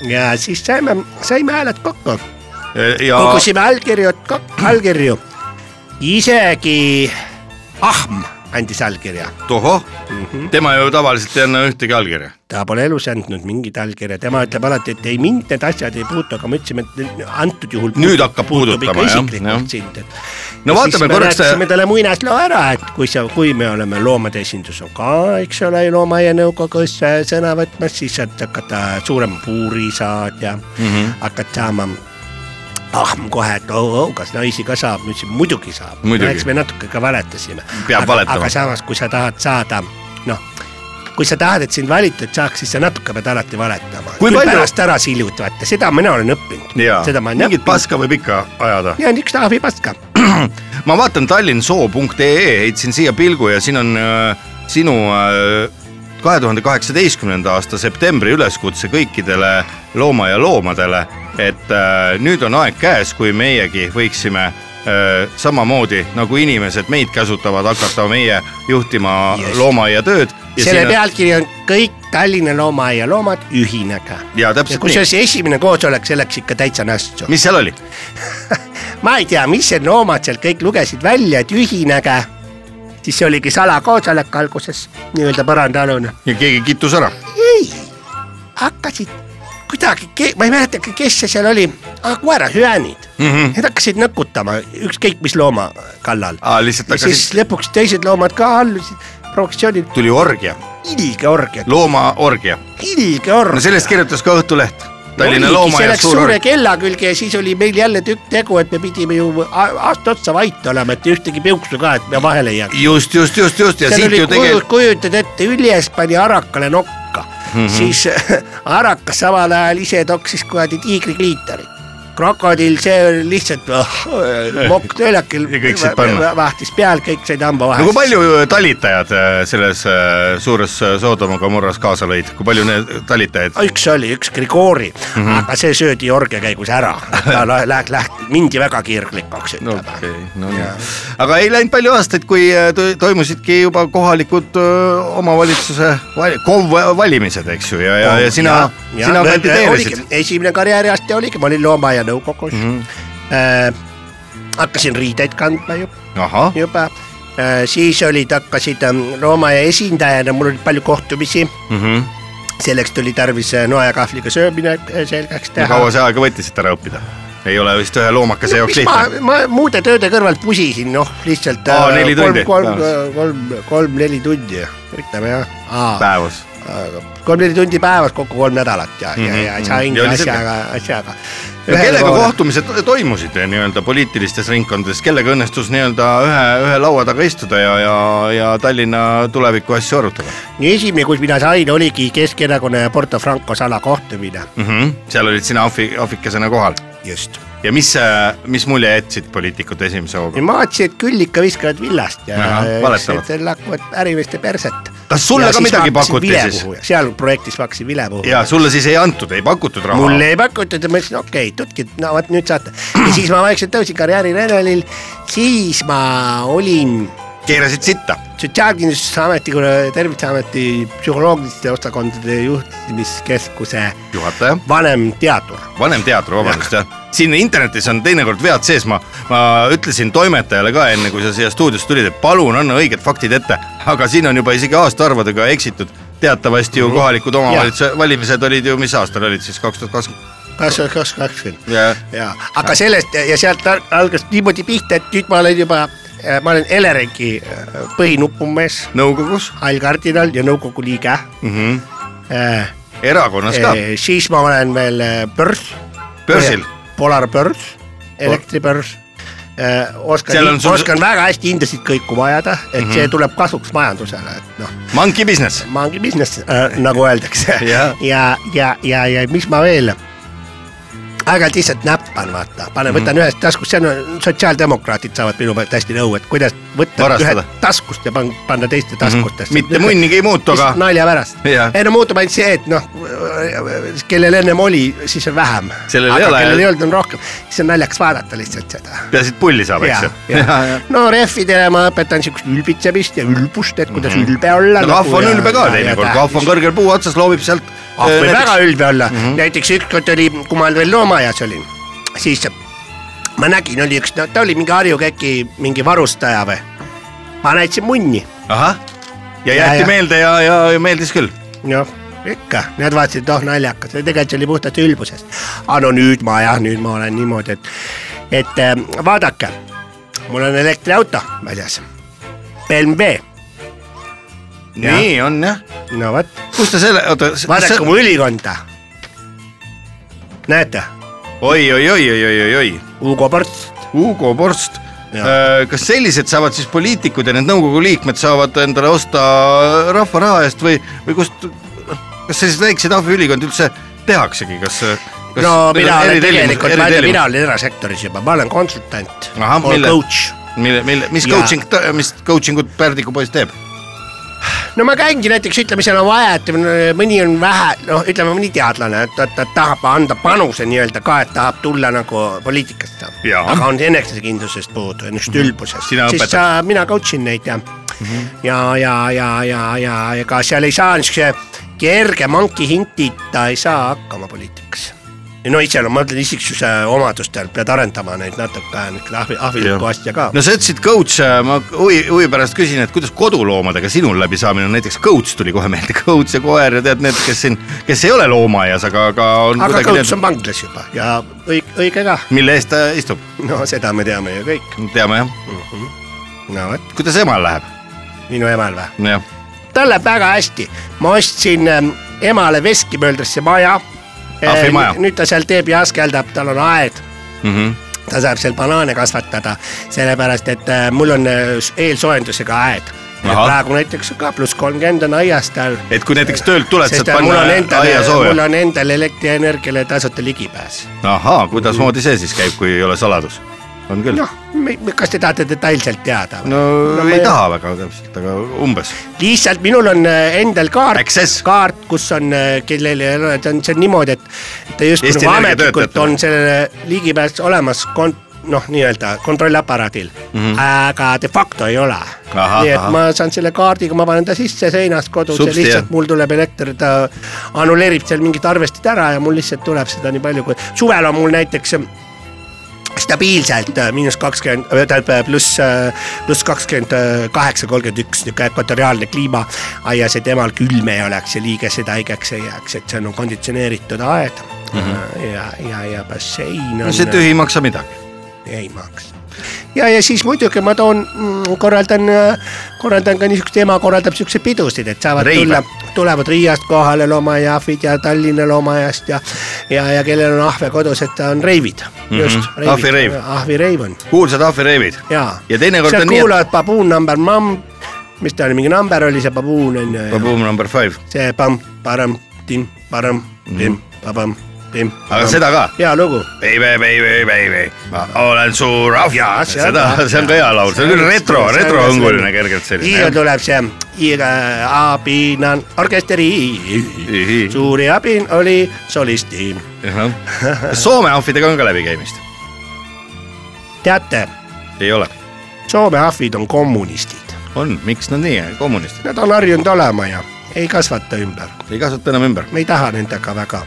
I: ja siis saime , saime hääled kokku ,
A: ja
I: kogusime allkirju , allkirju . isegi Ahm andis allkirja ,
A: tohoh mm ,
I: Mhm.
A: -hmm. tema ju tavaliselt ei anna ühtegi allkirja .
I: ta pole elus andnud mingit allkirja , tema ütleb alati , et ei mind need asjad ei puutu , aga me ütlesime , et antud juhul .
A: Nüüd hakkab puudutama, jah, jah.
I: sind , et .
A: no vaatame korraks
I: me rääkisime talle muinasloo ära , et kui sa , kui me oleme loomade esindus on ka , eks ole , loomaaia nõukogus äh, sõna võtmas , siis saad hakata suurema puuri saad ja mm
A: Mhm.
I: -hmm. hakkad saama ahm kohe , et oo-oo , kas naisi ka saab , ma ütlesin muidugi saab .
A: Muidugi.
I: eks me natuke ka valetasime .
A: Peab
I: aga,
A: valetama.
I: aga samas , kui sa tahad saada , noh , kui sa tahad , et sind valitud saaks , siis sa natuke pead alati valetama .
A: Kui palju-
I: pärast ära silluti , vaata seda mina olen õppinud .
A: ja
I: seda ma olen
A: mingit
I: õppinud .
A: paska võib ikka ajada .
I: ja niisugust ahvipaska
A: ma vaatan tallinnsoo.ee , heitsin siia pilgu ja siin on äh, sinu kahe tuhande kaheksateistkümnenda aasta septembri üleskutse kõikidele looma ja loomadele , et äh, nüüd on aeg käes , kui meiegi võiksime äh, samamoodi nagu inimesed meid käsutavad , hakata meie juhtima
I: Just.
A: loomaaia tööd .
I: selle pealkiri on kõik Tallinna loomaaia loomad ühinege .
A: ja täpselt nii ,
I: kusjuures esimene koosolek selleks ikka täitsa nässu .
A: mis seal oli ?
I: ma ei tea , mis need loomad seal kõik lugesid välja , et ühinege . siis see oligi salakoosolek alguses , nii-öelda põrandaalune .
A: ja keegi kittus ära
I: ei , hakkasid kuidagi , ma ei mäleta , kes see seal oli , aga koerahüäänid mm ,
A: Mhm.
I: -hmm. need hakkasid nõkutama ükskõik mis looma kallal .
A: ah, , lihtsalt
I: ja siis
A: hakkasid ,
I: lõpuks teised loomad ka allusid provokatsioonil ,
A: tuli orgia ,
I: ilge orgia ,
A: loomaorgia .
I: ilge orgia
A: no sellest kirjutas ka Õhtuleht . Tallinna
I: oligi, see
A: loomaaias
I: läks
A: suur
I: suure
A: orgia .
I: kella külge ja siis oli meil jälle tükk tegu , et me pidime ju a- aasta otsa vait olema , et ühtegi piuksu ka , et me vahele ei jääks .
A: just , just , just , just ja
I: seal
A: siit
I: oli
A: ju
I: kuju- ,
A: tegelikult ,
I: kujutad ette , Üljes pani harakale nokka mm , -hmm.
A: Mhm.
I: siis harakas samal ajal ise toksis kuradi tiigrikliitorit . krokodill , see oli lihtsalt oh, mokk töölakil
A: Ja kõik said panna.
I: vahtis peal , kõik said hamba
A: no kui
I: vahele .
A: palju talitajad äh, selles äh, suures äh, Soodoma Gomorras kaasa lõid , kui palju need talitajaid ?
I: üks oli , üks Grigori mm ,
A: Mhm.
I: -hmm. aga see söödi orgia käigus ära , ta lä- , lä- , läht- , mindi väga kirglikuks , ütleme no. .
A: no nii . aga ei läinud palju aastaid , kui äh, to- toimusidki juba kohalikud äh, omavalitsuse val- , KOV valimised , eks ju , ja , ja , ja sina , sina kandideerisid . Mhm.
I: esimene karjääriaste oligi , ma olin loomaaia nõukogus mm . -hmm. Äh, hakkasin riideid kandma ju-
A: ahah ,
I: juba äh, , siis olid , hakkasid ähm, loomaaia esindajana , mul oli palju kohtumisi mm .
A: Mhm.
I: -hmm. selleks tuli tarvis äh, noa ja kahvliga söömine äh, selgeks teha .
A: kaua see aega võttis , et ära õppida ? ei ole vist ühe loomakese
I: no,
A: jaoks
I: mis ma
A: lihtne .,
I: ma muude tööde kõrvalt pusisin , noh , lihtsalt
A: Aa,
I: äh,
A: neli tundi.
I: kolm ,
A: Päevas.
I: kolm , kolm , kolm-neli tundi , ütleme jah .
A: päevas
I: kolm-neli tundi päevas , kokku kolm nädalat ja mm , -hmm. ja , ja saingi
A: Mhm, Ja oli selge.
I: asjaga , asjaga .
A: Ja kellega poole. ? kohtumised toimusid eh, nii-öelda poliitilistes ringkondades , kellega õnnestus nii-öelda ühe , ühe laua taga istuda ja , ja , ja Tallinna tuleviku asju arutada
I: esimene , kus mina sain , oligi Keskerakonna ja Porto Franco salakohtumine .
A: mm ? -hmm. seal olid sina ahvi , ahvikesena kohal
I: just .
A: ja mis , mis mulje jätsid poliitikud esimese hooga ?
I: ja ma vaatasin , et küll ikka viskavad villast ja
A: Ahah, valetavad.
I: seal hakkavad ärimeeste perset .
A: Kas sulle ka midagi pakuti siis? ?
I: seal projektis ma hakkasin vile puhuma .
A: ja sulle siis ei antud , ei pakutud raha ?
I: mulle ei pakutud ja ma ütlesin , okei okay, , tutkid , no vot nüüd saate . ja siis ma vaikselt tõusin karjääri redelil , siis ma olin
A: keerasid sitta .
I: sotsiaalkindlustusameti , äh, Terviseameti psühholoogiliste osakondade juhtimiskeskuse
A: juhataja ,
I: vanemteadur .
A: vanemteater , vabandust jah . siin internetis on teinekord vead sees , ma , ma ütlesin toimetajale ka enne , kui sa siia stuudiosse tulid , et palun anna õiged faktid ette , aga siin on juba isegi aastaarvudega eksitud . teatavasti ju kohalikud omavalitsuse valimised olid ju , mis aastal olid siis kaks tuhat kakskümmend
I: kaks tuhat kaks kakskümmend
A: ja
I: ja , aga sellest ja sealt al- algas niimoodi pihta , et nüüd ma olen juba , ma olen Eleringi äh, põhinupumees ,
A: nõukogus
I: allkardinal ja nõukogu liige
A: mm . -hmm.
I: äh, .
A: erakonnas ka ,
I: Äh, siis ma olen veel äh, börs .
A: Börsil. .
I: Polar börs , elektribörs äh, .
A: Seal on
I: oskan ,
A: sul- Mhm.
I: sul... oskan väga hästi hindasid kõikuma ajada , et mm -hmm. see tuleb kasuks majandusele , et noh ,
A: monkey business .
I: ma ongi business äh, , nagu öeldakse
A: Jah.
I: ja , ja , ja , ja mis ma veel aeg-ajalt lihtsalt näppan , vaata , panen ,
A: Mhm.
I: võtan mm -hmm. ühest taskust , see on , sotsiaaldemokraadid saavad minu meelest hästi nõu , et kuidas võtta
A: Varastada. Mhm.
I: ühest taskust ja pan- panna teiste taskutesse mm .
A: mitte munnigi ei muutu , aga
I: lihtsalt nalja pärast
A: Jah. .
I: ei no muutub ainult see , et noh , kellel ennem oli , siis on vähem .
A: Sellel ei
I: aga
A: ole.
I: kellel ei olnud , on rohkem , siis on naljakas vaadata lihtsalt seda .
A: peaasi , et pulli saab , eks ju .
I: no rehvidele ma õpetan siukest ülbitsemist ja ülbust , et kuidas mm -hmm. ülbe olla .
A: kahv Mhm. on ülbe ka Mhm. teinekord , kahv on kõrgel puu otsas , loobib sealt . äh,
I: ah võib väga ülbe olla mm , -hmm. näiteks ükskord oli , kui ma veel loomaaias olin , siis ma nägin , oli üks , no ta oli mingi Harju käki mingi varustaja või . ma näitasin munni ,
A: ahah , ja
I: Ja,
A: jäeti
I: ja.
A: meelde ja , ja meeldis küll .
I: noh ikka , nad vaatasid , noh naljakas , tegelikult see oli puhtalt ülbusest . aga no nüüd ma jah , nüüd ma olen niimoodi , et , et ähm, vaadake , mul on elektriauto väljas , BMW ,
A: nii on jah .
I: no vot ,
A: kus ta selle , oota .
I: vaadake mu ülikonda . näete ,
A: oi , oi , oi , oi , oi , oi , oi ,
I: Hugo Ports ,
A: Hugo Borst Äh,
I: Jah. .
A: kas sellised saavad siis poliitikud ja need nõukogu liikmed saavad endale osta rahva raha eest või , või kust , kas selliseid väikseid ahviülikondi üldse tehaksegi , kas ?
I: no mina olen tegelikult , ma ei tea , mina olen erasektoris juba , ma olen konsultant , ma
A: Ahah,
I: olen
A: mille-
I: coach .
A: mille , mille , mis
I: Jaa.
A: coaching , mis coaching ut Pärdiku poiss teeb ?
I: no ma käingi näiteks , ütleme , seal on vaja , et mõni on vähe , noh , ütleme mõni teadlane , et ta, ta tahab anda panuse nii-öelda ka , et tahab tulla nagu poliitikasse .
A: Jaa. Mhm.
I: aga on enesekindlusest puudu , niisugust ülbusest .
A: Sina
I: siis
A: õpetad. Mhm.
I: sa, mina coach in neid ja mm , -hmm. ja , ja , ja , ja , ja ega seal ei saa niisuguse kerge monkey hintita ei saa hakkama poliitikas no iseloom , ma mõtlen isiksuse omadustel pead arendama neid natuke niisugune ahvi , ahvilikku asja ka .
A: no sa ütlesid coach , ma huvi , huvi pärast küsin , et kuidas koduloomadega sinul läbisaamine on , näiteks coach tuli kohe meelde , coach ja koer ja tead need , kes siin , kes ei ole loomaaias , aga , aga on
I: aga
A: kuidagi
I: coach on vanglas juba ja õig- , õige ka ,
A: mille eest ta istub ,
I: no seda me teame ju kõik .
A: teame jah ,
I: no vot ,
A: kuidas emal läheb ,
I: minu emal või ?
A: jah .
I: tal läheb väga hästi , ma ostsin ähm, emale veskimööldrisse maja .
A: Ahvimaja.
I: nüüd ta seal teeb ja askeldab , tal on aed , ta saab seal banaane kasvatada , sellepärast et äh, mul on äh, s- eelsoojendusega aed .
A: Ahah.
I: praegu näiteks ka pluss kolmkümmend on aias tal .
A: et kui näiteks töölt tuled , saad
I: sest äh, mul
A: panna
I: on endal
A: aia ,
I: mul
A: sooja ,
I: on endal elektrienergiale tasuta ligipääs .
A: ahaa , kuidasmoodi see siis käib , kui ei ole saladus , on küll .
I: noh , kas te tahate detailselt teada ?
A: no
I: ma-
A: ei taha väga täpselt , aga umbes ,
I: lihtsalt minul on äh, endal kaart
A: Access. ,
I: kaart , kus on , kellel ei ole , see on , see on niimoodi , et ta just
A: Eesti
I: nagu
A: Energia
I: ametlikult
A: töötajatele.
I: on sellele ligipääs olemas kon- , noh , nii-öelda kontrollaparaadil mm , -hmm. aga de facto ei ole .
A: Mhm. Ahah,
I: nii et
A: ahah.
I: ma saan selle kaardiga , ma panen ta sisse seinast kodus
A: Supsti,
I: Substi, ja lihtsalt
A: jah.
I: jah. mul tuleb elekter , ta annuleerib seal mingid arvestid ära ja mul lihtsalt tuleb seda nii palju , kui suvel on mul näiteks stabiilselt äh, miinus kakskümmend , tähendab äh, pluss , pluss kakskümmend äh, kaheksa , kolmkümmend üks niisugune ekvatoriaalne kliima . aias , et emal külm ei oleks ja liiges seda haigeks ei jääks , et see on konditsioneeritud aed mm . -hmm. ja , ja , ja bassein on .
A: Mhm. no see tühi ei maksa midagi ,
I: ei maksa . ja , ja siis muidugi ma toon , korraldan , korraldan ka niisugust , ema korraldab siukseid pidusid , et saavad
A: Reive.
I: Reive. tulla , tulevad Riiast kohale loomaaiaahvid ja Tallinna loomaaiast ja , ja , ja kellel on ahve kodus , et on reivid mm .
A: Mhm.
I: -hmm. just ,
A: Ahvireiv.
I: ahvireiv on
A: kuulsad ahvireivid
I: jaa .
A: Ja teinekord on
I: seal
A: nii, et-
I: kuulavad Baboon number mom , mis ta oli , mingi number oli see Baboon on ju .
A: Boom number five ,
I: see pamm , param , tim , param , tim , pabam , tim .
A: Mhm. aga seda ka
I: hea lugu .
A: Baby , baby , baby , ma olen suur ahv .
I: Jaa, see on
A: seda ,
I: ka.
A: see on ka hea laul , see on küll retro , retroõnguline kergelt
I: siis
A: selline .
I: tuleb see iga abinan orkesteri , suuri abin oli solisti .
A: Soome ahvidega on ka läbikäimist ,
I: teate ,
A: ei ole ,
I: Soome ahvid on kommunistid .
A: on , miks nad nii , kommunistid
I: Nad on harjunud olema ja ei kasvata ümber ,
A: ei kasvata enam ümber ,
I: me ei taha nendega väga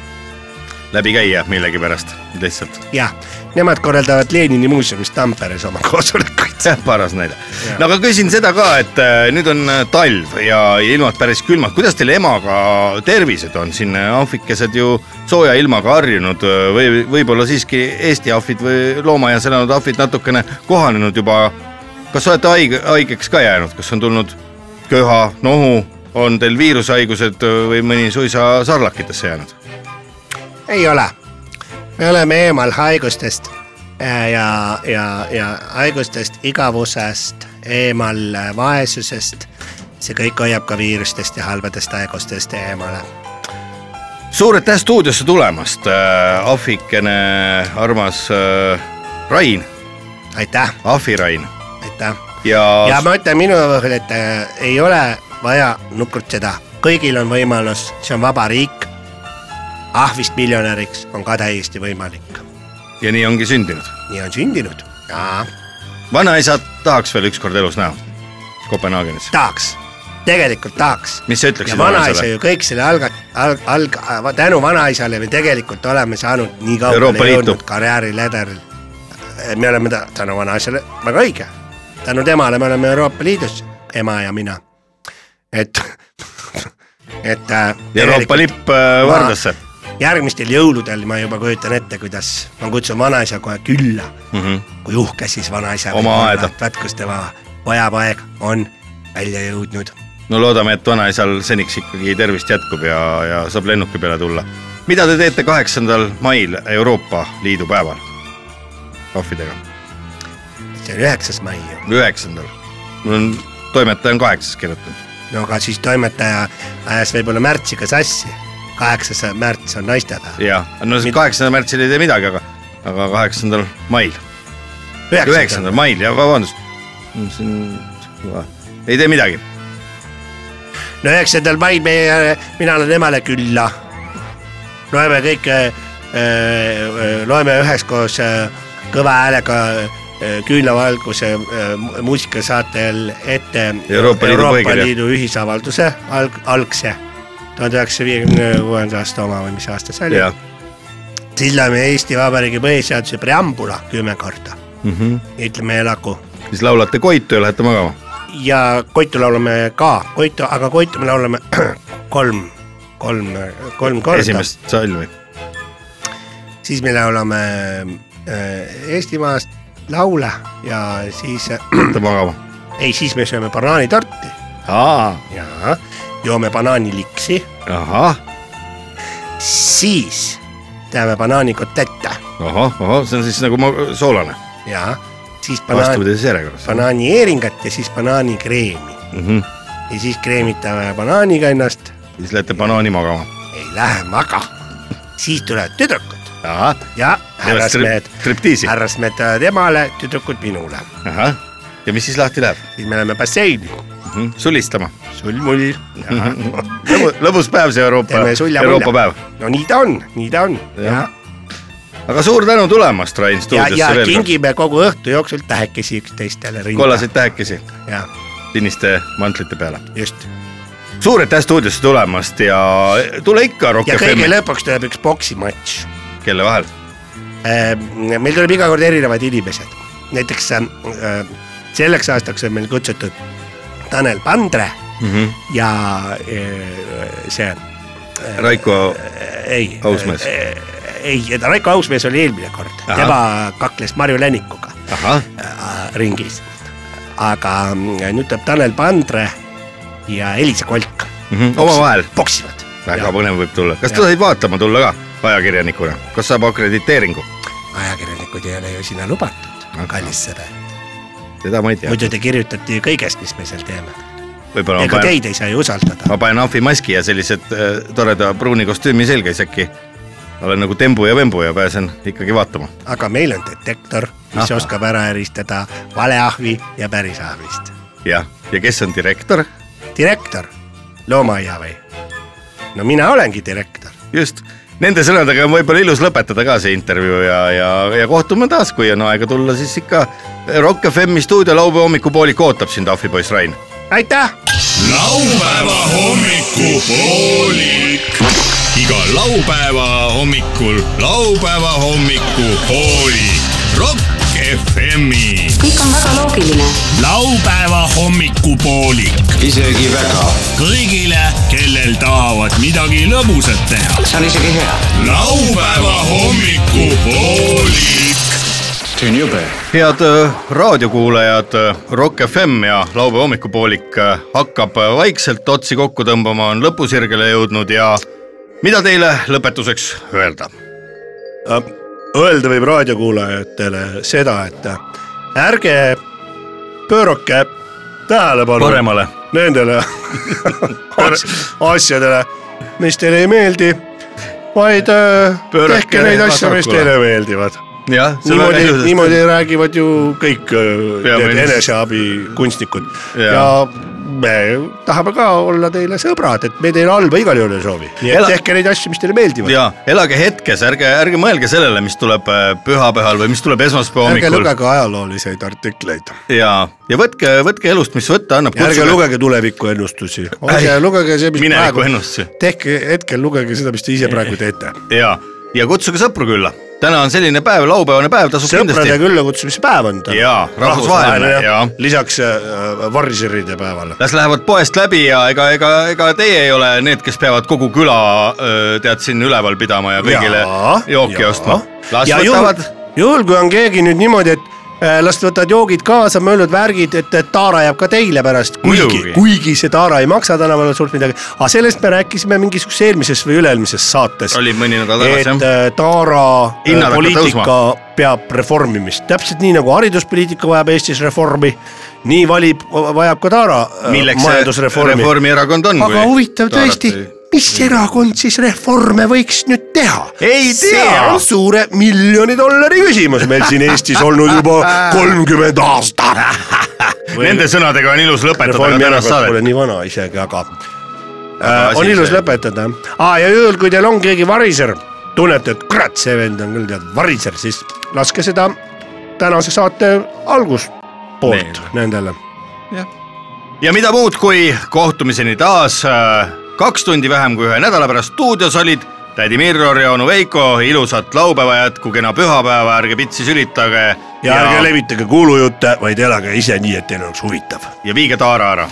A: läbi käia millegipärast lihtsalt .
I: jah , nemad korraldavad Lenini muuseumis Tamperes oma koosolekuid .
A: jah , paras näide . no aga küsin seda ka , et äh, nüüd on äh, talv ja ilmad päris külmad , kuidas teil emaga tervised on siin , ahvikesed ju sooja ilmaga harjunud äh, või võib-olla siiski Eesti ahvid või loomaaias elanud ahvid natukene kohanenud juba . kas olete haige , haigeks ka jäänud , kas on tulnud köha , nohu , on teil viirushaigused äh, või mõni suisa sarlakitesse jäänud ?
I: ei ole , me oleme eemal haigustest äh, ja , ja , ja haigustest , igavusest , eemal äh, vaesusest . see kõik hoiab ka viirustest ja halbadest haigustest eemale .
A: suur aitäh stuudiosse tulemast , ahvikene armas äh, Rain ,
I: aitäh ,
A: ahvi Rain
I: aitäh .
A: ja,
I: ja ma ütlen minu puhul , et äh, ei ole vaja nukrutseda , kõigil on võimalus , see on vaba riik . ahvist miljonäriks on ka täiesti võimalik ,
A: ja nii ongi sündinud .
I: nii on sündinud ja
A: vanaisa tahaks veel ükskord elus näha Kopenhaagenis .
I: tahaks , tegelikult tahaks
A: mis sa ütleksid
I: ja vanaisa
A: vanaisale
I: ju ? kõik selle alga- , alg- , alg- , tänu vanaisale me tegelikult oleme saanud nii
A: Euroopa
I: kaugele
A: Liitu.
I: jõudnud karjääri lederil . me oleme ta , tänu vanaisale , väga õige , tänu temale me oleme Euroopa Liidus , ema ja mina . et , et .
A: Euroopa lipp äh, vardasse .
I: järgmistel jõuludel ma juba kujutan ette , kuidas ma kutsun vanaisa kohe külla mm ,
A: Mhm.
I: -hmm. kui uhke siis vanaisa .
A: Oma aeda.
I: vaat kus tema pojapoeg on välja jõudnud
A: no loodame , et vanaisal seniks ikkagi tervist jätkub ja , ja saab lennuki peale tulla . mida te teete kaheksandal mail Euroopa Liidu päeval ? ahvidega ,
I: see on üheksas mai ju .
A: üheksandal . mul on , toimetaja on kaheksas kirjutanud .
I: no aga siis toimetaja ajas võib-olla märtsiga sassi . kaheksas märts on naistepäev .
A: jah , no see kaheksandal märtsil ei tee midagi , aga , aga kaheksandal mail , üheksandal . mail ja vabandust , siin ei tee midagi
I: no üheksandal mail meie , mina olen emale külla . loeme kõik , loeme üheskoos äh, kõva häälega äh, küünlavalguse äh, mu- muusikasaatel ette
A: Euroopa Liidu
I: Euroopa
A: põhikirja.
I: Liidu ühisavalduse alg- , algse tuhande üheksasaja viiekümne kuuenda aasta oma või mis aasta see oli
A: ja
I: siis loeme Eesti Vabariigi põhiseaduse preambula kümme korda mm . -hmm. ütleme elagu
A: Mhm. siis laulate koitu ja lähete magama .
I: ja Koitu laulame ka , Koitu , aga Koitu me laulame kolm , kolm , kolm korda .
A: esimest salmi .
I: siis me laulame äh, Eestimaast laule ja siis äh, ,
A: Lähete magama .
I: ei siis me sööme banaanitorti ja joome banaaniliksi ,
A: ahah ,
I: siis teeme banaanikotette
A: ahah , ahah , see on siis nagu ma- soolane ,
I: ja siis banaan ,
A: vastupidises järjekorras .
I: banaaniheeringat ja siis banaanikreemi ja siis kreemitame banaaniga ennast ,
A: siis lähete banaani magama .
I: ei lähe magama , siis tulevad tüdrukud
A: ahah ,
I: ja
A: Teevad
I: härrasmehed
A: strip- , striptiisi.
I: härrasmehed tulevad emale , tüdrukud minule ,
A: ahah ja mis siis lahti läheb ?
I: siis me läheme basseini ,
A: sulistama .
I: sulmull ,
A: lõbus päev see Euroopa
I: teeme , sulja
A: Euroopa päev .
I: no nii ta on , nii ta on ja ,
A: aga suur tänu tulemast , Rain ,
I: ja , ja
A: stuudiosse veel kord .
I: kingime kogu õhtu jooksul tähekesi üksteistele rinda ,
A: kollaseid tähekesi
I: jah ,
A: siniste mantlite peale .
I: just .
A: suur aitäh stuudiosse tulemast ja tule ikka Rock
I: ja kõige
A: FM-i ,
I: lõpuks tuleb üks poksimatš ,
A: kelle vahel .
I: Ehm, meil tuleb iga kord erinevad inimesed , näiteks äh, äh, selleks aastaks on meil kutsutud Tanel Pandre mm
A: Mhm.
I: -hmm. ja äh, see
A: Raiko
I: Äh, ei .
A: Ausmees.
I: ei , Raiko Ausmees oli eelmine kord ,
A: Ahah.
I: tema kakles Marju Lännikuga
A: ahah ,
I: äh, ringis . aga mm, nüüd tuleb Tanel Pandre ja Elisa Kolk
A: Mhm, omavahel.
I: poksivad .
A: väga põnev võib tulla , kas
I: Ja.
A: sa said vaatama tulla ka ajakirjanikuna , kas saab akrediteeringu ?
I: ajakirjanikud ei ole ju sinna lubatud , kallis sõber ,
A: seda ma ei tea .
I: muidu te kirjutate ju kõigest , mis me seal teeme .
A: võib-olla ma
I: ega
A: panen ,
I: teid ei saa ju usaldada ,
A: ma panen ahvimaski ja sellised äh, toreda pruuni kostüümi selga , siis äkki olen nagu tembu ja vembu ja pääsen ikkagi vaatama .
I: aga meil on detektor , mis
A: Ahah.
I: oskab ära eristada valeahvi ja päris ahvist .
A: jah , ja kes on direktor ?
I: direktor , loomaaia või ? no mina olengi direktor .
A: just , nende sõnadega on võib-olla ilus lõpetada ka see intervjuu ja , ja , ja kohtume taas , kui on aega tulla , siis ikka Rock FM-i stuudio laupäeva hommikupooliku ootab sind ahvipoiss Rain .
I: aitäh .
F: laupäeva hommikupoolik . iga laupäeva hommikul laupäeva hommikupoolik Rock FM-i .
J: kõik on väga loogiline .
K: laupäeva hommikupoolik . isegi väga . kõigile , kellel tahavad midagi lõbusat teha .
J: see on isegi hea .
F: laupäeva hommikupoolik .
A: head äh, raadiokuulajad , Rock FM ja laupäeva hommikupoolik äh, hakkab äh, vaikselt otsi kokku tõmbama , on lõpusirgele jõudnud ja mida teile lõpetuseks öelda ?
I: Öelda võib raadiokuulajatele seda , et ärge pöörake tähelepanu
A: paremale .
I: nendele as- asjadele , mis teile ei meeldi , vaid äh,
A: Pöörake
I: tehke neid asju , mis
A: vasakule.
I: teile meeldivad .
A: jah , see on väga
I: niimoodi ,
A: ilusasti
I: niimoodi räägivad ju kõik äh, need
A: Peaminister.
I: eneseabikunstnikud
A: Jaa.
I: ja. ja me tahame ka olla teile sõbrad , et me teile halba igal juhul ei soovi . nii et
A: Ela-
I: Ela... tehke neid asju , mis teile meeldivad .
A: ja elage hetkes , ärge , ärge mõelge sellele , mis tuleb äh, pühapäeval või mis tuleb esmaspäeva
I: ärge
A: hommikul .
I: lugege ajalooliseid artikleid
A: ja , ja võtke , võtke elust , mis võtta annab .
I: ja ärge lugege tulevikuennustusi , olge
A: Ei, ,
I: lugege see , mis praegu ,
A: minevikuennustusi
I: tehke hetkel lugege seda , mis te ise praegu teete .
A: ja , ja kutsuge sõpru külla . täna on selline päev , laupäevane päev , tasub
I: sõprade
A: kindlasti .
I: küllakutsumise päev on täna .
A: Jaa, rahvusvaheline, jaa.
I: lisaks äh, varseride päevale .
A: Las lähevad poest läbi ja ega , ega , ega teie ei ole need , kes peavad kogu küla öö, tead siin üleval pidama ja kõigile jooki ostma . las ja võtavad
I: juhul , juhul kui on keegi nüüd niimoodi , et äh, las võtavad joogid kaasa , möllud , värgid , et et taara jääb ka teile pärast ,
A: Muidugi.
I: kuigi , kuigi see taara ei maksa tänaval suurt midagi , aga sellest me rääkisime mingisuguses eelmises või üle-eelmises saates .
A: Oli mõni nädal tagasi,
I: et
A: jah.
I: äh, taara äh,
A: Hinnad hakkavad
I: poliitika
A: tõusma.
I: peab reformimist , täpselt nii nagu hariduspoliitika vajab Eestis reformi , nii valib , vajab ka taara äh,
A: milleks see
I: majandusreformi
A: Reformierakond on .
I: aga huvitav tõesti , mis erakond siis reforme võiks nüüd teha ?
A: Ei
I: see
A: tea.
I: on suure miljoni dollari küsimus meil siin Eestis olnud juba kolmkümmend aastat .
A: Nende sõnadega on ilus lõpetada ka tänast
I: Reformierakond pole
A: saadet .
I: nii vana isegi , aga
A: Aga
I: äh, on
A: asi
I: ilus
A: see.
I: lõpetada . aa , ja juhul , kui teil on keegi variser , tunnete , et kurat , see vend on küll tead variser , siis laske seda tänase saate alguspoolt nendele .
A: ja mida muud , kui kohtumiseni taas äh, kaks tundi vähem kui ühe nädala pärast stuudios olid tädi Mirror ja onu Veiko , ilusat laupäeva jätku , kena pühapäeva , ärge pitsi sülitage .
I: ja ärge levitage kuulujutte , vaid elage ise nii , et teil oleks huvitav .
A: ja viige taara ära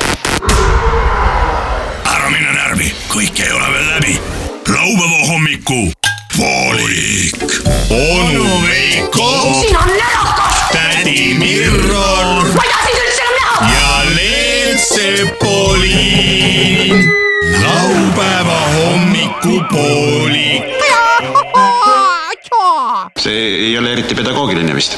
K: ära mine närvi , kõik ei ole veel läbi . laupäeva hommiku poolik .
F: onu Veiko ,
J: sina närakas ,
F: tädi Mirror
J: ma ei taha sind üldse enam näha .
F: ja Leelsepoliin . laupäeva hommikupoolik .
D: see ei ole eriti pedagoogiline vist .